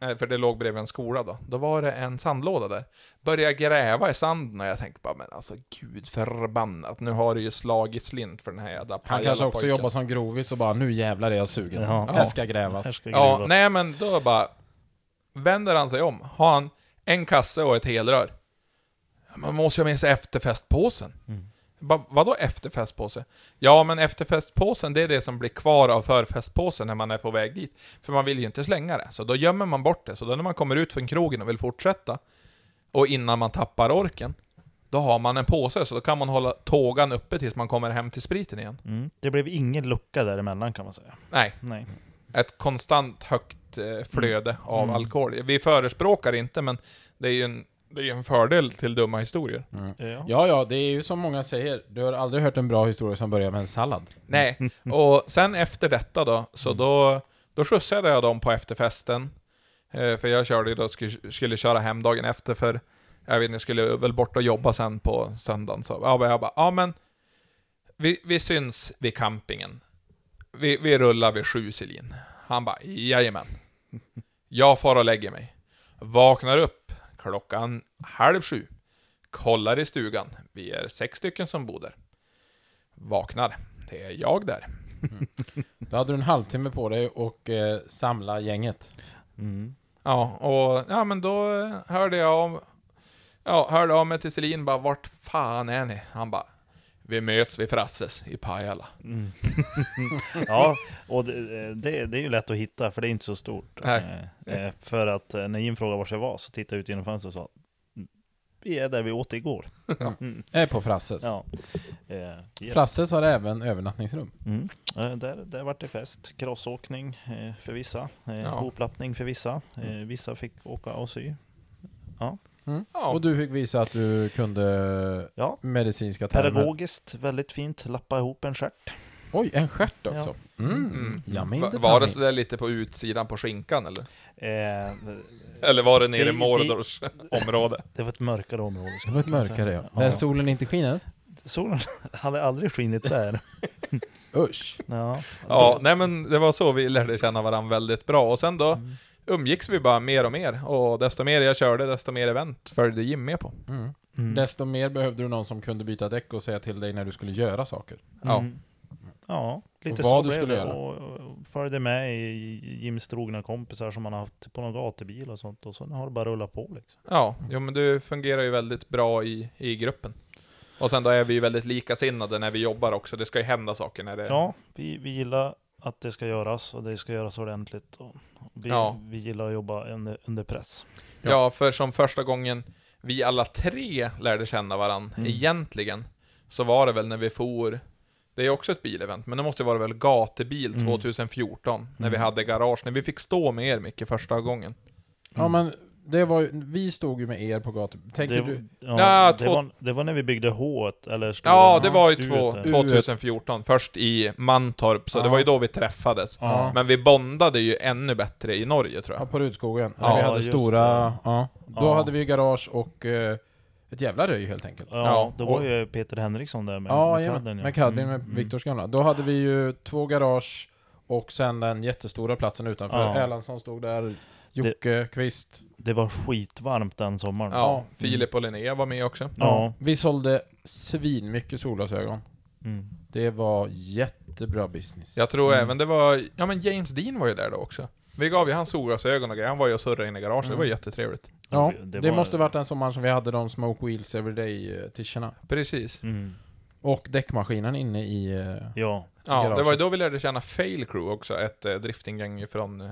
Speaker 3: eh, för det låg bredvid en skola då, då var det en sandlåda där. Börjar gräva i sanden och jag tänkte bara men alltså gud förbannat, nu har det ju slagit slint för den här jävla
Speaker 2: Han kanske också
Speaker 3: Pajala-pojken."
Speaker 2: jobbar som grovis och bara nu jävlar är jag sugen.
Speaker 1: Ja.
Speaker 2: Här ska grävas.
Speaker 1: Här ska
Speaker 3: Ja,
Speaker 1: gruvas.
Speaker 3: nej men då bara vänder han sig om. Har han en kasse och ett helrör? Man måste ju ha med sig efterfestpåsen.
Speaker 1: Mm.
Speaker 3: Ba, vadå efterfestpåse? Ja, men efterfestpåsen, det är det som blir kvar av förfestpåsen när man är på väg dit. För man vill ju inte slänga det, så då gömmer man bort det. Så då när man kommer ut från krogen och vill fortsätta, och innan man tappar orken, då har man en påse, så då kan man hålla tågan uppe tills man kommer hem till spriten igen.
Speaker 1: Mm. Det blev ingen lucka däremellan kan man säga.
Speaker 3: Nej,
Speaker 1: Nej.
Speaker 3: ett konstant högt eh, flöde av
Speaker 1: Mm.
Speaker 3: alkohol. Vi förespråkar inte, men det är ju en, det är ju en fördel till dumma historier.
Speaker 1: Ja.
Speaker 2: Ja, ja, det är ju som många säger. Du har aldrig hört en bra historia som börjar med en sallad.
Speaker 3: Nej, och sen efter detta då, så då, då skjutsade jag dem på efterfesten. Eh, för jag körde ju då, skulle, skulle köra hem dagen efter för, jag vet inte, jag skulle väl bort och jobba sen på söndagen. Så ja, men jag bara, ja men, vi, vi syns vid campingen. Vi, vi rullar vid sju, Selin. Han bara, jajamän. Jag far och lägger mig. Vaknar upp klockan halv sju. Kollar i stugan. Vi är sex stycken som bor där. Vaknar. Det är jag där.
Speaker 2: Då hade du en halvtimme på dig och eh, samla gänget.
Speaker 1: Mm.
Speaker 3: Ja, och ja, men då eh, hörde jag om... Ja, hörde av mig till Selin bara vart fan är ni? Han bara vi möts vid Frasses i Pajala.
Speaker 1: Mm. ja, och det, eh, det, det är ju lätt att hitta för det är inte så stort.
Speaker 3: Nej.
Speaker 1: Eh, eh, För att eh, när Jim frågade var jag var så tittade jag ut genom fönstret och sa "Mm, Vi är där vi åt igår. Mm,
Speaker 2: Är på Frasses.
Speaker 1: Ja. Eh, yes.
Speaker 2: Frasses har även övernattningsrum.
Speaker 1: Mm. Eh, Där, där var det fest, crossåkning eh, för vissa, eh,
Speaker 3: Ja. Mm.
Speaker 1: hoplappning för vissa. Eh, Vissa fick åka och sy.
Speaker 3: Ja,
Speaker 2: Och du fick visa att du kunde
Speaker 1: Ja.
Speaker 2: medicinska termer.
Speaker 1: Pedagogiskt, väldigt fint, lappa ihop en stjärt.
Speaker 2: Oj, en stjärt också. Mm.
Speaker 3: Mm.
Speaker 2: Yummy in
Speaker 3: va,
Speaker 2: the
Speaker 3: var det
Speaker 2: tummy.
Speaker 3: sådär lite på utsidan på skinkan eller?
Speaker 1: Eh,
Speaker 3: Eller var det nere
Speaker 1: Det-
Speaker 3: i Mordors område?
Speaker 1: Det var ett mörkare område.
Speaker 2: Det
Speaker 1: skulle
Speaker 2: var ett
Speaker 1: man kunna
Speaker 2: mörkare
Speaker 1: säga.
Speaker 2: ja. Där solen inte skiner.
Speaker 1: Solen hade aldrig skinit där.
Speaker 2: Usch.
Speaker 1: Ja,
Speaker 3: Ja, nej men det var så vi lärde känna varandra väldigt bra. Och sen då umgicks vi bara mer och mer. Och desto mer jag körde, desto mer event följde Jim med på.
Speaker 2: Mm.
Speaker 1: Mm.
Speaker 2: Desto mer behövde du någon som kunde byta däck och säga till dig när du skulle göra saker.
Speaker 3: Ja.
Speaker 1: Mm. Ja, lite
Speaker 2: Och vad
Speaker 1: så
Speaker 2: du
Speaker 1: blev
Speaker 2: skulle
Speaker 1: det.
Speaker 2: göra.
Speaker 1: Och och följde med i Jims trogna kompisar som han har haft på någon gatubil och sånt. Och så har det bara rullat på liksom.
Speaker 3: Ja, jo men du fungerar ju väldigt bra i, i gruppen. Och sen då är vi ju väldigt likasinnade när vi jobbar också, det ska ju hända saker när det...
Speaker 1: Ja, vi, vi gillar att det ska göras och det ska göras ordentligt. Och vi,
Speaker 3: Ja.
Speaker 1: vi gillar att jobba under, under press.
Speaker 3: ja, för som första gången vi alla tre lärde känna varandra, egentligen, så var det väl när vi for Det är också ett bilevent, men det måste vara väl gatubil 2014, när vi hade garage, när vi fick stå med er Micke första gången.
Speaker 2: Ja men, det var ju, vi stod ju med er på gatan. Tänker
Speaker 1: Det,
Speaker 2: du?
Speaker 1: ja,
Speaker 3: Nej,
Speaker 1: det,
Speaker 3: två-
Speaker 1: var, det var när vi byggde H eller stora
Speaker 3: Ja, det var ju
Speaker 1: U-et
Speaker 3: två,
Speaker 1: där.
Speaker 3: 2014, först i Mantorp, så
Speaker 2: Ja.
Speaker 3: det var ju då vi träffades.
Speaker 1: Ja.
Speaker 3: Men vi bondade ju ännu bättre i Norge tror
Speaker 2: Ja,
Speaker 3: jag.
Speaker 2: på Rudskogen.
Speaker 1: Ja,
Speaker 2: Ja, vi hade
Speaker 1: just
Speaker 2: stora,
Speaker 1: det.
Speaker 2: ja. Då
Speaker 1: Ja.
Speaker 2: hade vi ju garage och eh, ett jävla röj helt enkelt.
Speaker 1: Ja,
Speaker 3: Ja,
Speaker 1: då var
Speaker 2: och-
Speaker 1: ju Peter Henriksson där med,
Speaker 2: Ja,
Speaker 1: med
Speaker 2: jajamän.
Speaker 1: kadden, ja.
Speaker 2: med Caddien,
Speaker 1: Mm,
Speaker 2: med
Speaker 1: mm.
Speaker 2: Viktors gamla. Då hade vi ju två garage och sen den jättestora platsen utanför.
Speaker 1: Ja.
Speaker 2: Erlandsson stod där, Jocke, Kvist.
Speaker 1: Det var skitvarmt den sommaren.
Speaker 3: Ja, Filip och Linnea var med också.
Speaker 1: Ja.
Speaker 2: Vi sålde svinmycket solglasögon.
Speaker 1: Mm.
Speaker 2: Det var jättebra business.
Speaker 3: Jag tror även det var, ja men James Dean var ju där då också. Vi gav ju hans solglasögon och grejer, han var ju och surrade inne i garaget, det var ju jättetrevligt.
Speaker 2: ja,
Speaker 1: det
Speaker 2: det,
Speaker 1: var-
Speaker 2: måste varit den sommaren som vi hade de Smoke Wheels Everyday-tischerna.
Speaker 3: Precis.
Speaker 1: Mm.
Speaker 2: Och däckmaskinen inne i... eh,
Speaker 1: Ja.
Speaker 3: Ja, det
Speaker 2: Garaget.
Speaker 3: var ju då vi lärde känna Fail Crew också, ett eh, driftinggäng från eh,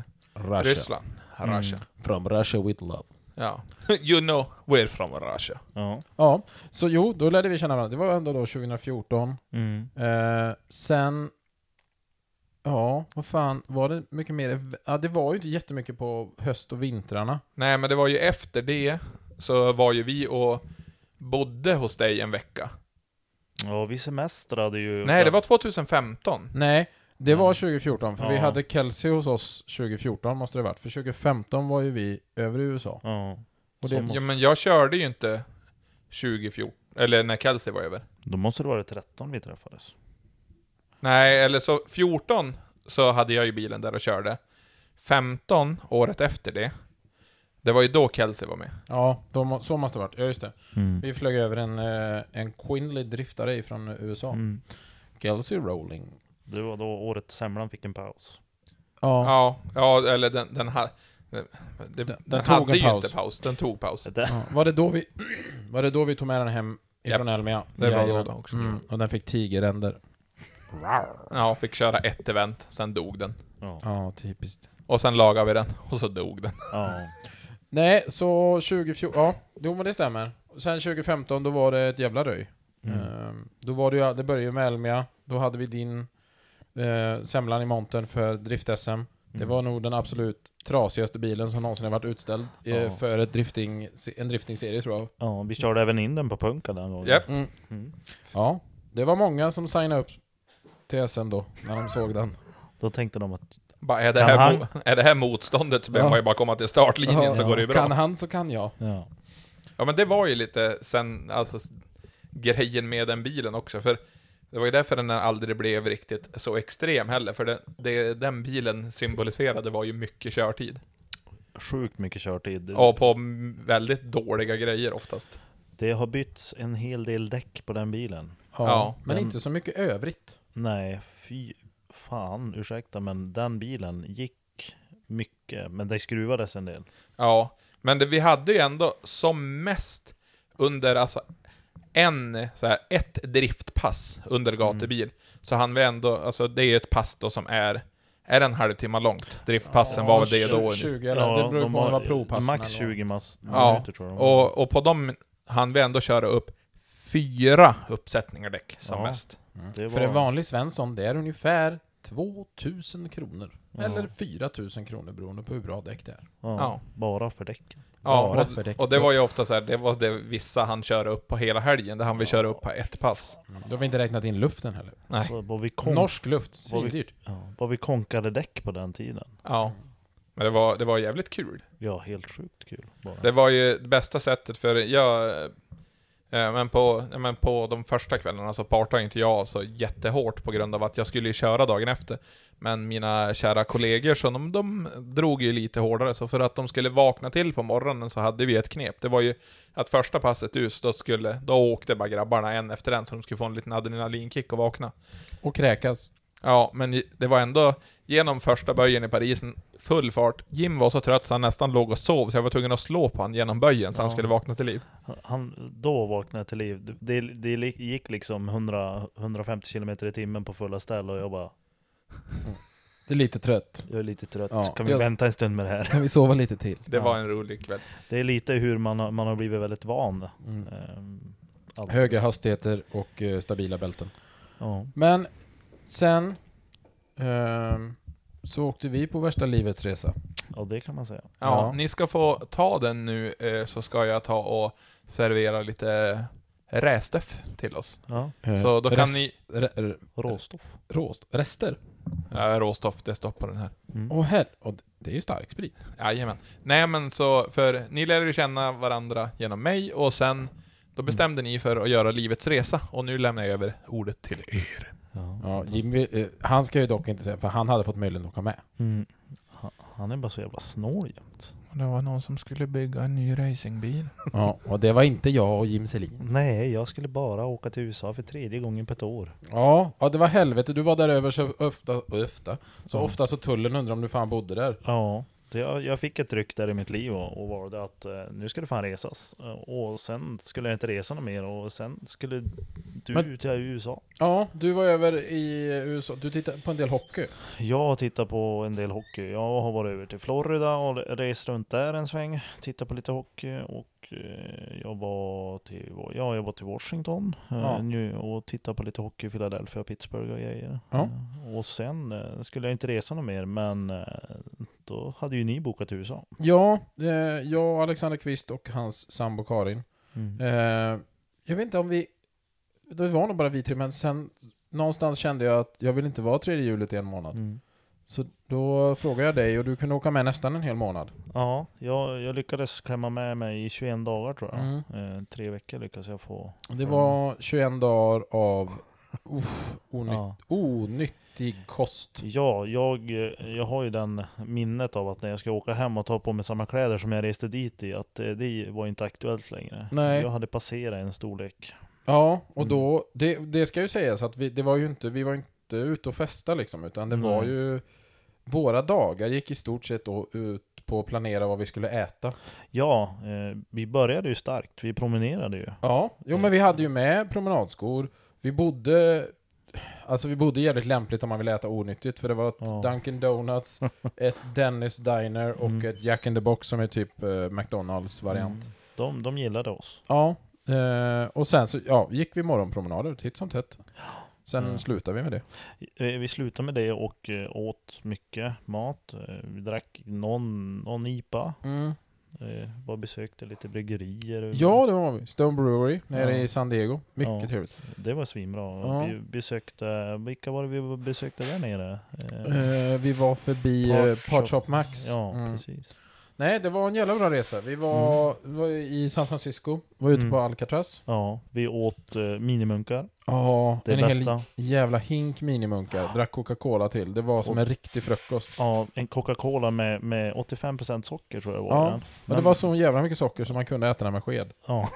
Speaker 3: Ryssland. Mm. Russia.
Speaker 2: From Russia with love.
Speaker 3: Ja. you know, we're from Russia.
Speaker 1: Ja.
Speaker 2: Ja, så jo, då lärde vi känna varandra. Det var ändå då 2014.
Speaker 1: Mm.
Speaker 2: Eh, sen... Ja, vad fan, var det mycket mer? ev- Ja, det var ju inte jättemycket på höst och vintrarna.
Speaker 3: Nej, men det var ju efter det, så var ju vi och bodde hos dig en vecka.
Speaker 1: ja, vi semestrade ju.
Speaker 3: Nej, det var 2015.
Speaker 2: Nej, det
Speaker 3: Mm.
Speaker 2: var 2014, för vi
Speaker 1: Ja.
Speaker 2: hade Kelsey hos oss 2014 måste det ha varit. För 2015 var ju vi över i USA.
Speaker 1: Ja.
Speaker 2: Och
Speaker 1: Som-
Speaker 2: det,
Speaker 3: Ja, men jag körde ju inte 2014, eller när Kelsey var över.
Speaker 1: Då måste det vara 13 vi träffades.
Speaker 3: Nej, eller så 14 så hade jag ju bilen där och körde. 15, året efter det, det var ju då Kelsey var med.
Speaker 2: ja, då må, så måste det ha varit. Ja, just det.
Speaker 1: Mm.
Speaker 2: Vi flög över en, eh, en Quinley driftare ifrån USA.
Speaker 1: Mm.
Speaker 2: Kelsey Rolling.
Speaker 1: Det var då året semlan fick en paus.
Speaker 2: Ja.
Speaker 3: Ja, ja eller den, den, ha, den, den, den,
Speaker 2: den tog
Speaker 3: hade
Speaker 2: en
Speaker 3: ju
Speaker 2: paus.
Speaker 3: inte paus, den tog paus.
Speaker 1: Det,
Speaker 2: ja. Var, det då vi, var det då vi tog med den hem ifrån Elmia?
Speaker 3: Det var
Speaker 2: Jajamän.
Speaker 3: då också.
Speaker 2: Mm, och den fick tigeränder.
Speaker 3: Ja, fick köra ett event, sen dog den.
Speaker 1: ja.
Speaker 2: Ja, typiskt.
Speaker 3: Och sen lagade vi den, och så dog den.
Speaker 1: ja.
Speaker 2: Nej, så 2014, ja, jo men det stämmer. Sen 2015, då var det ett jävla röj.
Speaker 3: Eh,
Speaker 1: Mm.
Speaker 2: Ehm, då var det ju, det började ju med Elmia, då hade vi din eh, semlan i montern för drift-SM.
Speaker 1: Mm.
Speaker 2: Det var nog den absolut trasigaste bilen som någonsin har varit utställd eh,
Speaker 1: Ja.
Speaker 2: för ett drifting, en driftingserie tror jag.
Speaker 1: ja, vi körde även in den på punka den gången.
Speaker 3: Japp.
Speaker 2: Mm.
Speaker 1: Mm.
Speaker 2: Ja, det var många som signade upp till SM då, när de såg den.
Speaker 1: Då tänkte de att
Speaker 3: Bara, är, det
Speaker 1: Kan
Speaker 3: här,
Speaker 1: han-
Speaker 3: mo- är det här motståndet så behöver
Speaker 2: Ja.
Speaker 3: man ju bara komma till startlinjen så
Speaker 2: Ja,
Speaker 3: går det ju bra.
Speaker 2: Kan han så kan jag.
Speaker 1: ja.
Speaker 3: Ja men det var ju lite sen, alltså s- grejen med den bilen också, för det var ju därför den aldrig blev riktigt så extrem heller, för det, det, den bilen symboliserade var ju mycket körtid.
Speaker 1: sjukt mycket körtid. Det,
Speaker 3: Och på m- väldigt dåliga grejer oftast.
Speaker 1: det har bytts en hel del däck på den bilen.
Speaker 2: Ja,
Speaker 3: Ja,
Speaker 2: men
Speaker 1: den-
Speaker 2: inte så mycket övrigt.
Speaker 1: Nej, fy fan, ursäkta men den bilen gick mycket, men det skruvades en del.
Speaker 3: Ja, men det, vi hade ju ändå som mest under alltså en, så här, ett driftpass under gatubil, så hann vi ändå, alltså det är ju ett pass då som är, är en halvtimme långt. Driftpassen var väl det då.
Speaker 2: 20 eller, det beror
Speaker 1: de
Speaker 2: på om det
Speaker 1: har
Speaker 2: var provpassen
Speaker 1: Max
Speaker 2: eller vad.
Speaker 1: 20 mas-
Speaker 3: Ja,
Speaker 1: minuter tror jag de har.
Speaker 3: Och, och på dem hann vi ändå köra upp fyra uppsättningar däck som
Speaker 1: Ja.
Speaker 3: mest.
Speaker 1: det var,
Speaker 2: För en vanlig svensson, det är ungefär 2000 kronor.
Speaker 1: Ja.
Speaker 2: Eller 4000 kronor beroende på hur bra däck det är.
Speaker 1: ja,
Speaker 3: ja.
Speaker 1: Bara för däcken.
Speaker 3: Ja,
Speaker 2: Bara för däck.
Speaker 3: och, och det var ju ofta så här, det var det vissa han köra upp på hela helgen, det han vi köra upp på ett pass.
Speaker 2: Mm. Då har vi inte räknat in luften heller.
Speaker 3: Nej.
Speaker 1: Alltså, vad, vi kon-
Speaker 2: Norsk luft,
Speaker 1: Vad vi-
Speaker 2: svindyrt.
Speaker 1: ja, vad vi konkade däck på den tiden.
Speaker 3: Ja. Men det var, det var jävligt kul.
Speaker 1: Ja, helt sjukt kul. Bara.
Speaker 3: Det var ju det bästa sättet för jag... eh, Men på, ja, men på de första kvällarna så partade inte jag så jättehårt på grund av att jag skulle ju köra dagen efter. Men mina kära kollegor så de, de drog ju lite hårdare, så för att de skulle vakna till på morgonen så hade vi ett knep. Det var ju att första passet ut, så då, skulle, då åkte bara grabbarna en efter en så de skulle få en liten adrenalinkick och vakna.
Speaker 2: Och kräkas.
Speaker 3: Ja, men i- det var ändå genom första böjen i Paris, en full fart. Jim var så trött så han nästan låg och sov, så jag var tvungen att slå på han genom böjen så han
Speaker 1: Ja.
Speaker 3: skulle vakna till liv.
Speaker 1: Han, då vaknade jag till liv. Det- Det, det li- gick liksom 100, 150 km i timmen på fulla ställ och jag bara,
Speaker 2: Det är lite trött.
Speaker 1: jag är lite trött.
Speaker 2: Ja,
Speaker 1: kan vi
Speaker 2: jag-
Speaker 1: vänta en stund med det här?
Speaker 2: Kan vi sova lite till?
Speaker 3: Det
Speaker 1: Ja.
Speaker 3: var en rolig kväll.
Speaker 1: Det är lite hur man, har- man har blivit väldigt van.
Speaker 2: Mm.
Speaker 1: Ehm, alltid.
Speaker 2: Höga hastigheter och eh, stabila bälten.
Speaker 1: Ja.
Speaker 2: Men sen ehm, så åkte vi på värsta livets resa.
Speaker 1: ja, det kan man säga.
Speaker 3: Ja,
Speaker 2: Ja.
Speaker 3: ni ska få ta den nu eh, så ska jag ta och servera lite eh, rästöff till oss.
Speaker 1: Ja,
Speaker 2: Eh,
Speaker 3: Så då kan
Speaker 2: rest-
Speaker 3: ni...
Speaker 2: re- re-
Speaker 1: råstoff.
Speaker 2: råst, rester?
Speaker 3: Ja, råstoff, det stoppar den här.
Speaker 1: Mm.
Speaker 2: Åh här, och det är ju stark sprit.
Speaker 3: Jajamän. Nej men så, för ni lärde ju känna varandra genom mig och sen då bestämde ni för att göra livets resa och nu lämnar jag över ordet till er.
Speaker 1: Ja.
Speaker 2: Ja, Jim vill, eh, han ska ju dock inte säga, för han hade fått möjligheten att åka med.
Speaker 1: Mm. Ha- Han är bara så jävla snål jämt.
Speaker 3: Det var någon som skulle bygga en ny racingbil.
Speaker 2: Ja, och det var inte jag och Jim Selin.
Speaker 1: Nej, jag skulle bara åka till USA för tredje gången på ett år.
Speaker 2: Ja, ja det var helvete. Du var där över så ofta, ofta. Så ofta så tullen undrar om du fan bodde där.
Speaker 1: Ja, det- jag, jag fick ett ryck där i mitt liv och, och valde att eh, nu ska det fan resas. Eh, Och sen skulle jag inte resa något mer och sen skulle du
Speaker 2: Men-
Speaker 1: till USA.
Speaker 2: Ja, du var över i USA. Du tittade på en del hockey.
Speaker 1: Jag tittar på en del hockey. Jag har varit över till Florida och rest runt där en sväng. Tittat på lite hockey och eh, jag var till, ja, jag var till Washington eh,
Speaker 2: Ja.
Speaker 1: nu och tittade på lite hockey i Philadelphia, Pittsburgh och grejer.
Speaker 2: Ja.
Speaker 1: Eh, Och sen eh, skulle jag inte resa något mer men eh, då hade ju ni bokat till USA.
Speaker 2: Ja, eh, jag, Alexander Kvist och hans sambo Karin. Eh, jag vet inte om vi... Det var nog bara vi tre, men sen någonstans kände jag att jag vill inte vara tredje hjulet i en månad.
Speaker 1: Mm.
Speaker 2: Så då frågade jag dig och du kunde åka med nästan en hel månad.
Speaker 1: Ja, jag, jag lyckades klämma med mig i 21 dagar tror jag.
Speaker 2: Mm.
Speaker 1: Eh, tre veckor lyckades jag få.
Speaker 2: Det var 21 dagar av uff, onytt,
Speaker 1: Ja.
Speaker 2: onyttig kost.
Speaker 1: ja, jag, jag har ju den minnet av att när jag ska åka hem och ta på mig samma kläder som jag reste dit i, att eh, det var inte aktuellt längre.
Speaker 2: Nej.
Speaker 1: Jag hade passerat en storlek.
Speaker 2: Ja, och
Speaker 1: Mm.
Speaker 2: då, det, det ska ju sägas att vi, det var ju inte, vi var inte ute och festa liksom, utan det var
Speaker 1: Nej.
Speaker 2: ju, våra dagar gick i stort sett då ut på att planera vad vi skulle äta.
Speaker 1: Ja, eh, vi började ju starkt. Vi promenerade ju.
Speaker 2: Ja, jo men vi hade ju med promenadskor, vi bodde, alltså vi bodde jävligt lämpligt om man vill äta onyttigt, för det var ett
Speaker 1: Ja.
Speaker 2: Dunkin Donuts, ett Dennis Diner och
Speaker 1: Mm.
Speaker 2: ett Jack in the Box som är typ eh, McDonalds variant.
Speaker 1: Mm. De, de gillade oss.
Speaker 2: Ja, eh, och sen så ja, gick vi morgonpromenader titt som tätt. Sen
Speaker 1: Mm.
Speaker 2: slutade vi med det.
Speaker 1: Eh, Vi slutade med det och eh, åt mycket mat. Eh, Vi drack någon, någon IPA. Eh, Var besökte lite bryggerier.
Speaker 2: Ja, det var vi. Stone Brewery nere
Speaker 1: Ja.
Speaker 2: i San Diego. Mycket
Speaker 1: Ja.
Speaker 2: trevligt.
Speaker 1: Det var svinbra.
Speaker 2: Ja.
Speaker 1: Vi besökte, vilka var det vi besökte där nere? Eh,
Speaker 2: Eh, vi var förbi
Speaker 1: Part
Speaker 2: eh, Part Shop
Speaker 1: Shop
Speaker 2: Max.
Speaker 1: Ja,
Speaker 2: Mm.
Speaker 1: precis.
Speaker 2: Nej, det var en jävla bra resa. Vi var, var i San Francisco, var ute
Speaker 1: Mm.
Speaker 2: på Alcatraz.
Speaker 1: Ja, vi åt eh, minimunkar.
Speaker 2: Ja,
Speaker 1: Det
Speaker 2: en hel
Speaker 1: bästa.
Speaker 2: jävla hink minimunkar. Drack Coca-Cola till. Det var som
Speaker 1: Och-
Speaker 2: en riktig frukost.
Speaker 1: Ja, en Coca-Cola med, med 85% socker tror jag var
Speaker 2: Ja,
Speaker 1: den.
Speaker 2: Men det var så jävla mycket socker som man kunde äta den med sked.
Speaker 1: ja.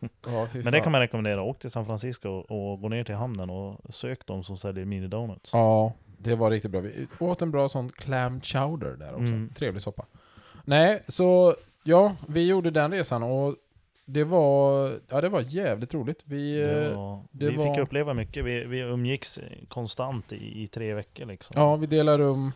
Speaker 2: Ja, fy
Speaker 1: Men det
Speaker 2: fan.
Speaker 1: kan man rekommendera. Åk till San Francisco och gå ner till hamnen och sök de som säljer minidonuts.
Speaker 2: Ja, det var riktigt bra. Vi åt en bra sån clam chowder där också.
Speaker 1: Mm.
Speaker 2: Trevlig soppa. Nej, så ja, vi gjorde den resan och det var, ja, det var jävligt roligt. Vi, eh,
Speaker 1: Det
Speaker 2: ja.
Speaker 1: var,
Speaker 2: det
Speaker 1: vi
Speaker 2: var-
Speaker 1: fick uppleva mycket. Vi, vi umgicks eh, konstant i, i tre veckor liksom.
Speaker 2: ja, vi delade rum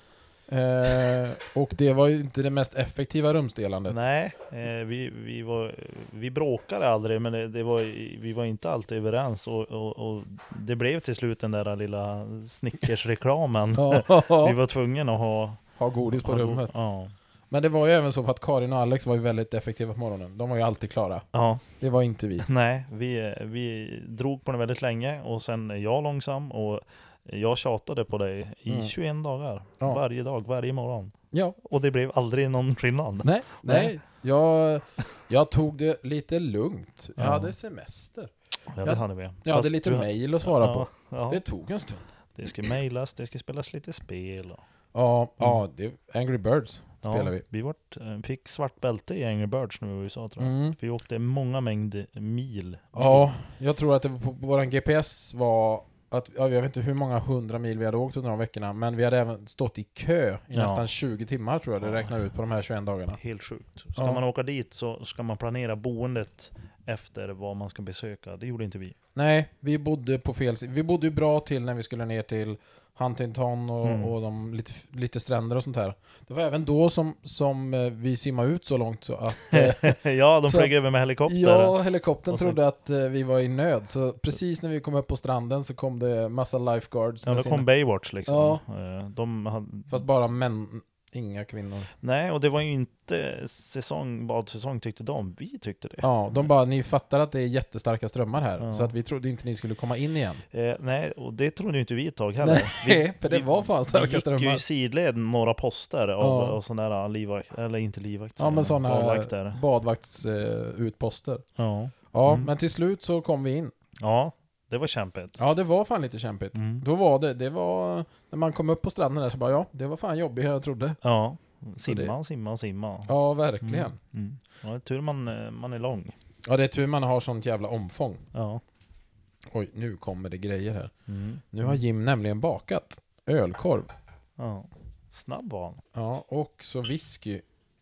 Speaker 2: eh, och det var ju inte det mest effektiva rumsdelandet.
Speaker 1: Nej, eh, vi, vi, var, vi bråkade aldrig, men det, det var, vi var inte alltid överens. Och, och, och det blev till slut den där lilla Snickers-reklamen. Vi
Speaker 2: Ja,
Speaker 1: var tvungna att ha...
Speaker 2: ha godis på
Speaker 1: ha-
Speaker 2: rummet.
Speaker 1: Ja.
Speaker 2: Men det var ju även så för att Karin och Alex var ju väldigt effektiva på morgonen. De var ju alltid klara.
Speaker 1: ja.
Speaker 2: Det var inte vi.
Speaker 1: Nej, vi, vi drog på den väldigt länge och sen är jag långsam och jag tjatade på dig i
Speaker 2: Mm.
Speaker 1: 21 dagar.
Speaker 2: Ja.
Speaker 1: Varje dag, varje morgon.
Speaker 2: Ja,
Speaker 1: Och det blev aldrig någon skillnad.
Speaker 2: nej, nej.
Speaker 1: Nej.
Speaker 2: Jag, jag tog det lite lugnt. Jag
Speaker 1: Ja.
Speaker 2: hade semester.
Speaker 1: Ja, det hade vi.
Speaker 2: Jag hade lite mejl att svara på.
Speaker 1: Ja,
Speaker 2: Det
Speaker 1: ja.
Speaker 2: tog en stund.
Speaker 1: Det ska mejlas, det ska spelas lite spel. Och...
Speaker 2: Ja, ja det, Angry Birds
Speaker 1: Ja,
Speaker 2: spelar vi.
Speaker 1: Vi vart, eh, fick svart bälte i Angry Birds när vi var i USA tror jag.
Speaker 2: Mm.
Speaker 1: För vi åkte många mängd mil.
Speaker 2: Ja, jag tror att det var på, på våran GPS var att, ja, jag vet inte hur många hundra mil vi hade åkt under de veckorna, men vi hade även stått i kö i
Speaker 1: Ja.
Speaker 2: nästan 20 timmar tror jag det
Speaker 1: Ja.
Speaker 2: räknar ut på de här 21 dagarna.
Speaker 1: Helt sjukt. Ska
Speaker 2: Ja.
Speaker 1: man åka dit så ska man planera boendet efter vad man ska besöka. Det gjorde inte vi.
Speaker 2: Nej, vi bodde på fel sida. Vi bodde ju bra till när vi skulle ner till Huntington och,
Speaker 1: Mm.
Speaker 2: och de lite, lite stränder och sånt här. Det var även då som, som eh, vi simmade ut så långt så att eh,
Speaker 1: ja, de
Speaker 2: Så-
Speaker 1: flög över med helikopter.
Speaker 2: ja, helikoptern
Speaker 1: Och så-
Speaker 2: trodde att eh, vi var i nöd. Så precis när vi kom upp på stranden så kom det massa lifeguards.
Speaker 1: Ja,
Speaker 2: med
Speaker 1: då
Speaker 2: sina-
Speaker 1: kom Baywatch liksom.
Speaker 2: Ja.
Speaker 1: Eh, De hade...
Speaker 2: Fast bara män, inga kvinnor.
Speaker 1: Nej, och det var ju inte säsong, badsäsong tyckte de. Vi tyckte det.
Speaker 2: Ja, de bara, ni fattar att det är jättestarka strömmar här.
Speaker 1: Ja.
Speaker 2: Så att vi trodde inte ni skulle komma in igen.
Speaker 1: Eh, nej, och det trodde ju inte vi ett tag heller.
Speaker 2: Nej, för det
Speaker 1: vi-
Speaker 2: var fan
Speaker 1: vi
Speaker 2: starka
Speaker 1: gick ju
Speaker 2: strömmar.
Speaker 1: i sidled några poster av,
Speaker 2: Ja.
Speaker 1: av sådana där ah, livvakt, eller inte livvakt, eh,
Speaker 2: Ja, men sådana
Speaker 1: badvakter.
Speaker 2: badvaktsutposter.
Speaker 1: Ja.
Speaker 2: Ja,
Speaker 1: Mm.
Speaker 2: men till slut så kom vi in.
Speaker 1: ja, det var kämpigt.
Speaker 2: Ja, det var fan lite kämpigt.
Speaker 1: Mm.
Speaker 2: Då var det, det var, när man kom upp på stranden där så bara ja, det var fan jobbigare än jag trodde.
Speaker 1: Ja,
Speaker 2: Så det-
Speaker 1: simma och simma och simma.
Speaker 2: Ja, verkligen.
Speaker 1: Mm. Mm. Ja, det är tur man, eh, man är lång.
Speaker 2: Ja, det är tur man har sånt jävla omfång.
Speaker 1: Ja.
Speaker 2: Oj, nu kommer det grejer här.
Speaker 1: Mm.
Speaker 2: Nu har Jim nämligen bakat ölkorv.
Speaker 1: ja. Snabb var han.
Speaker 2: Ja, och så whisky.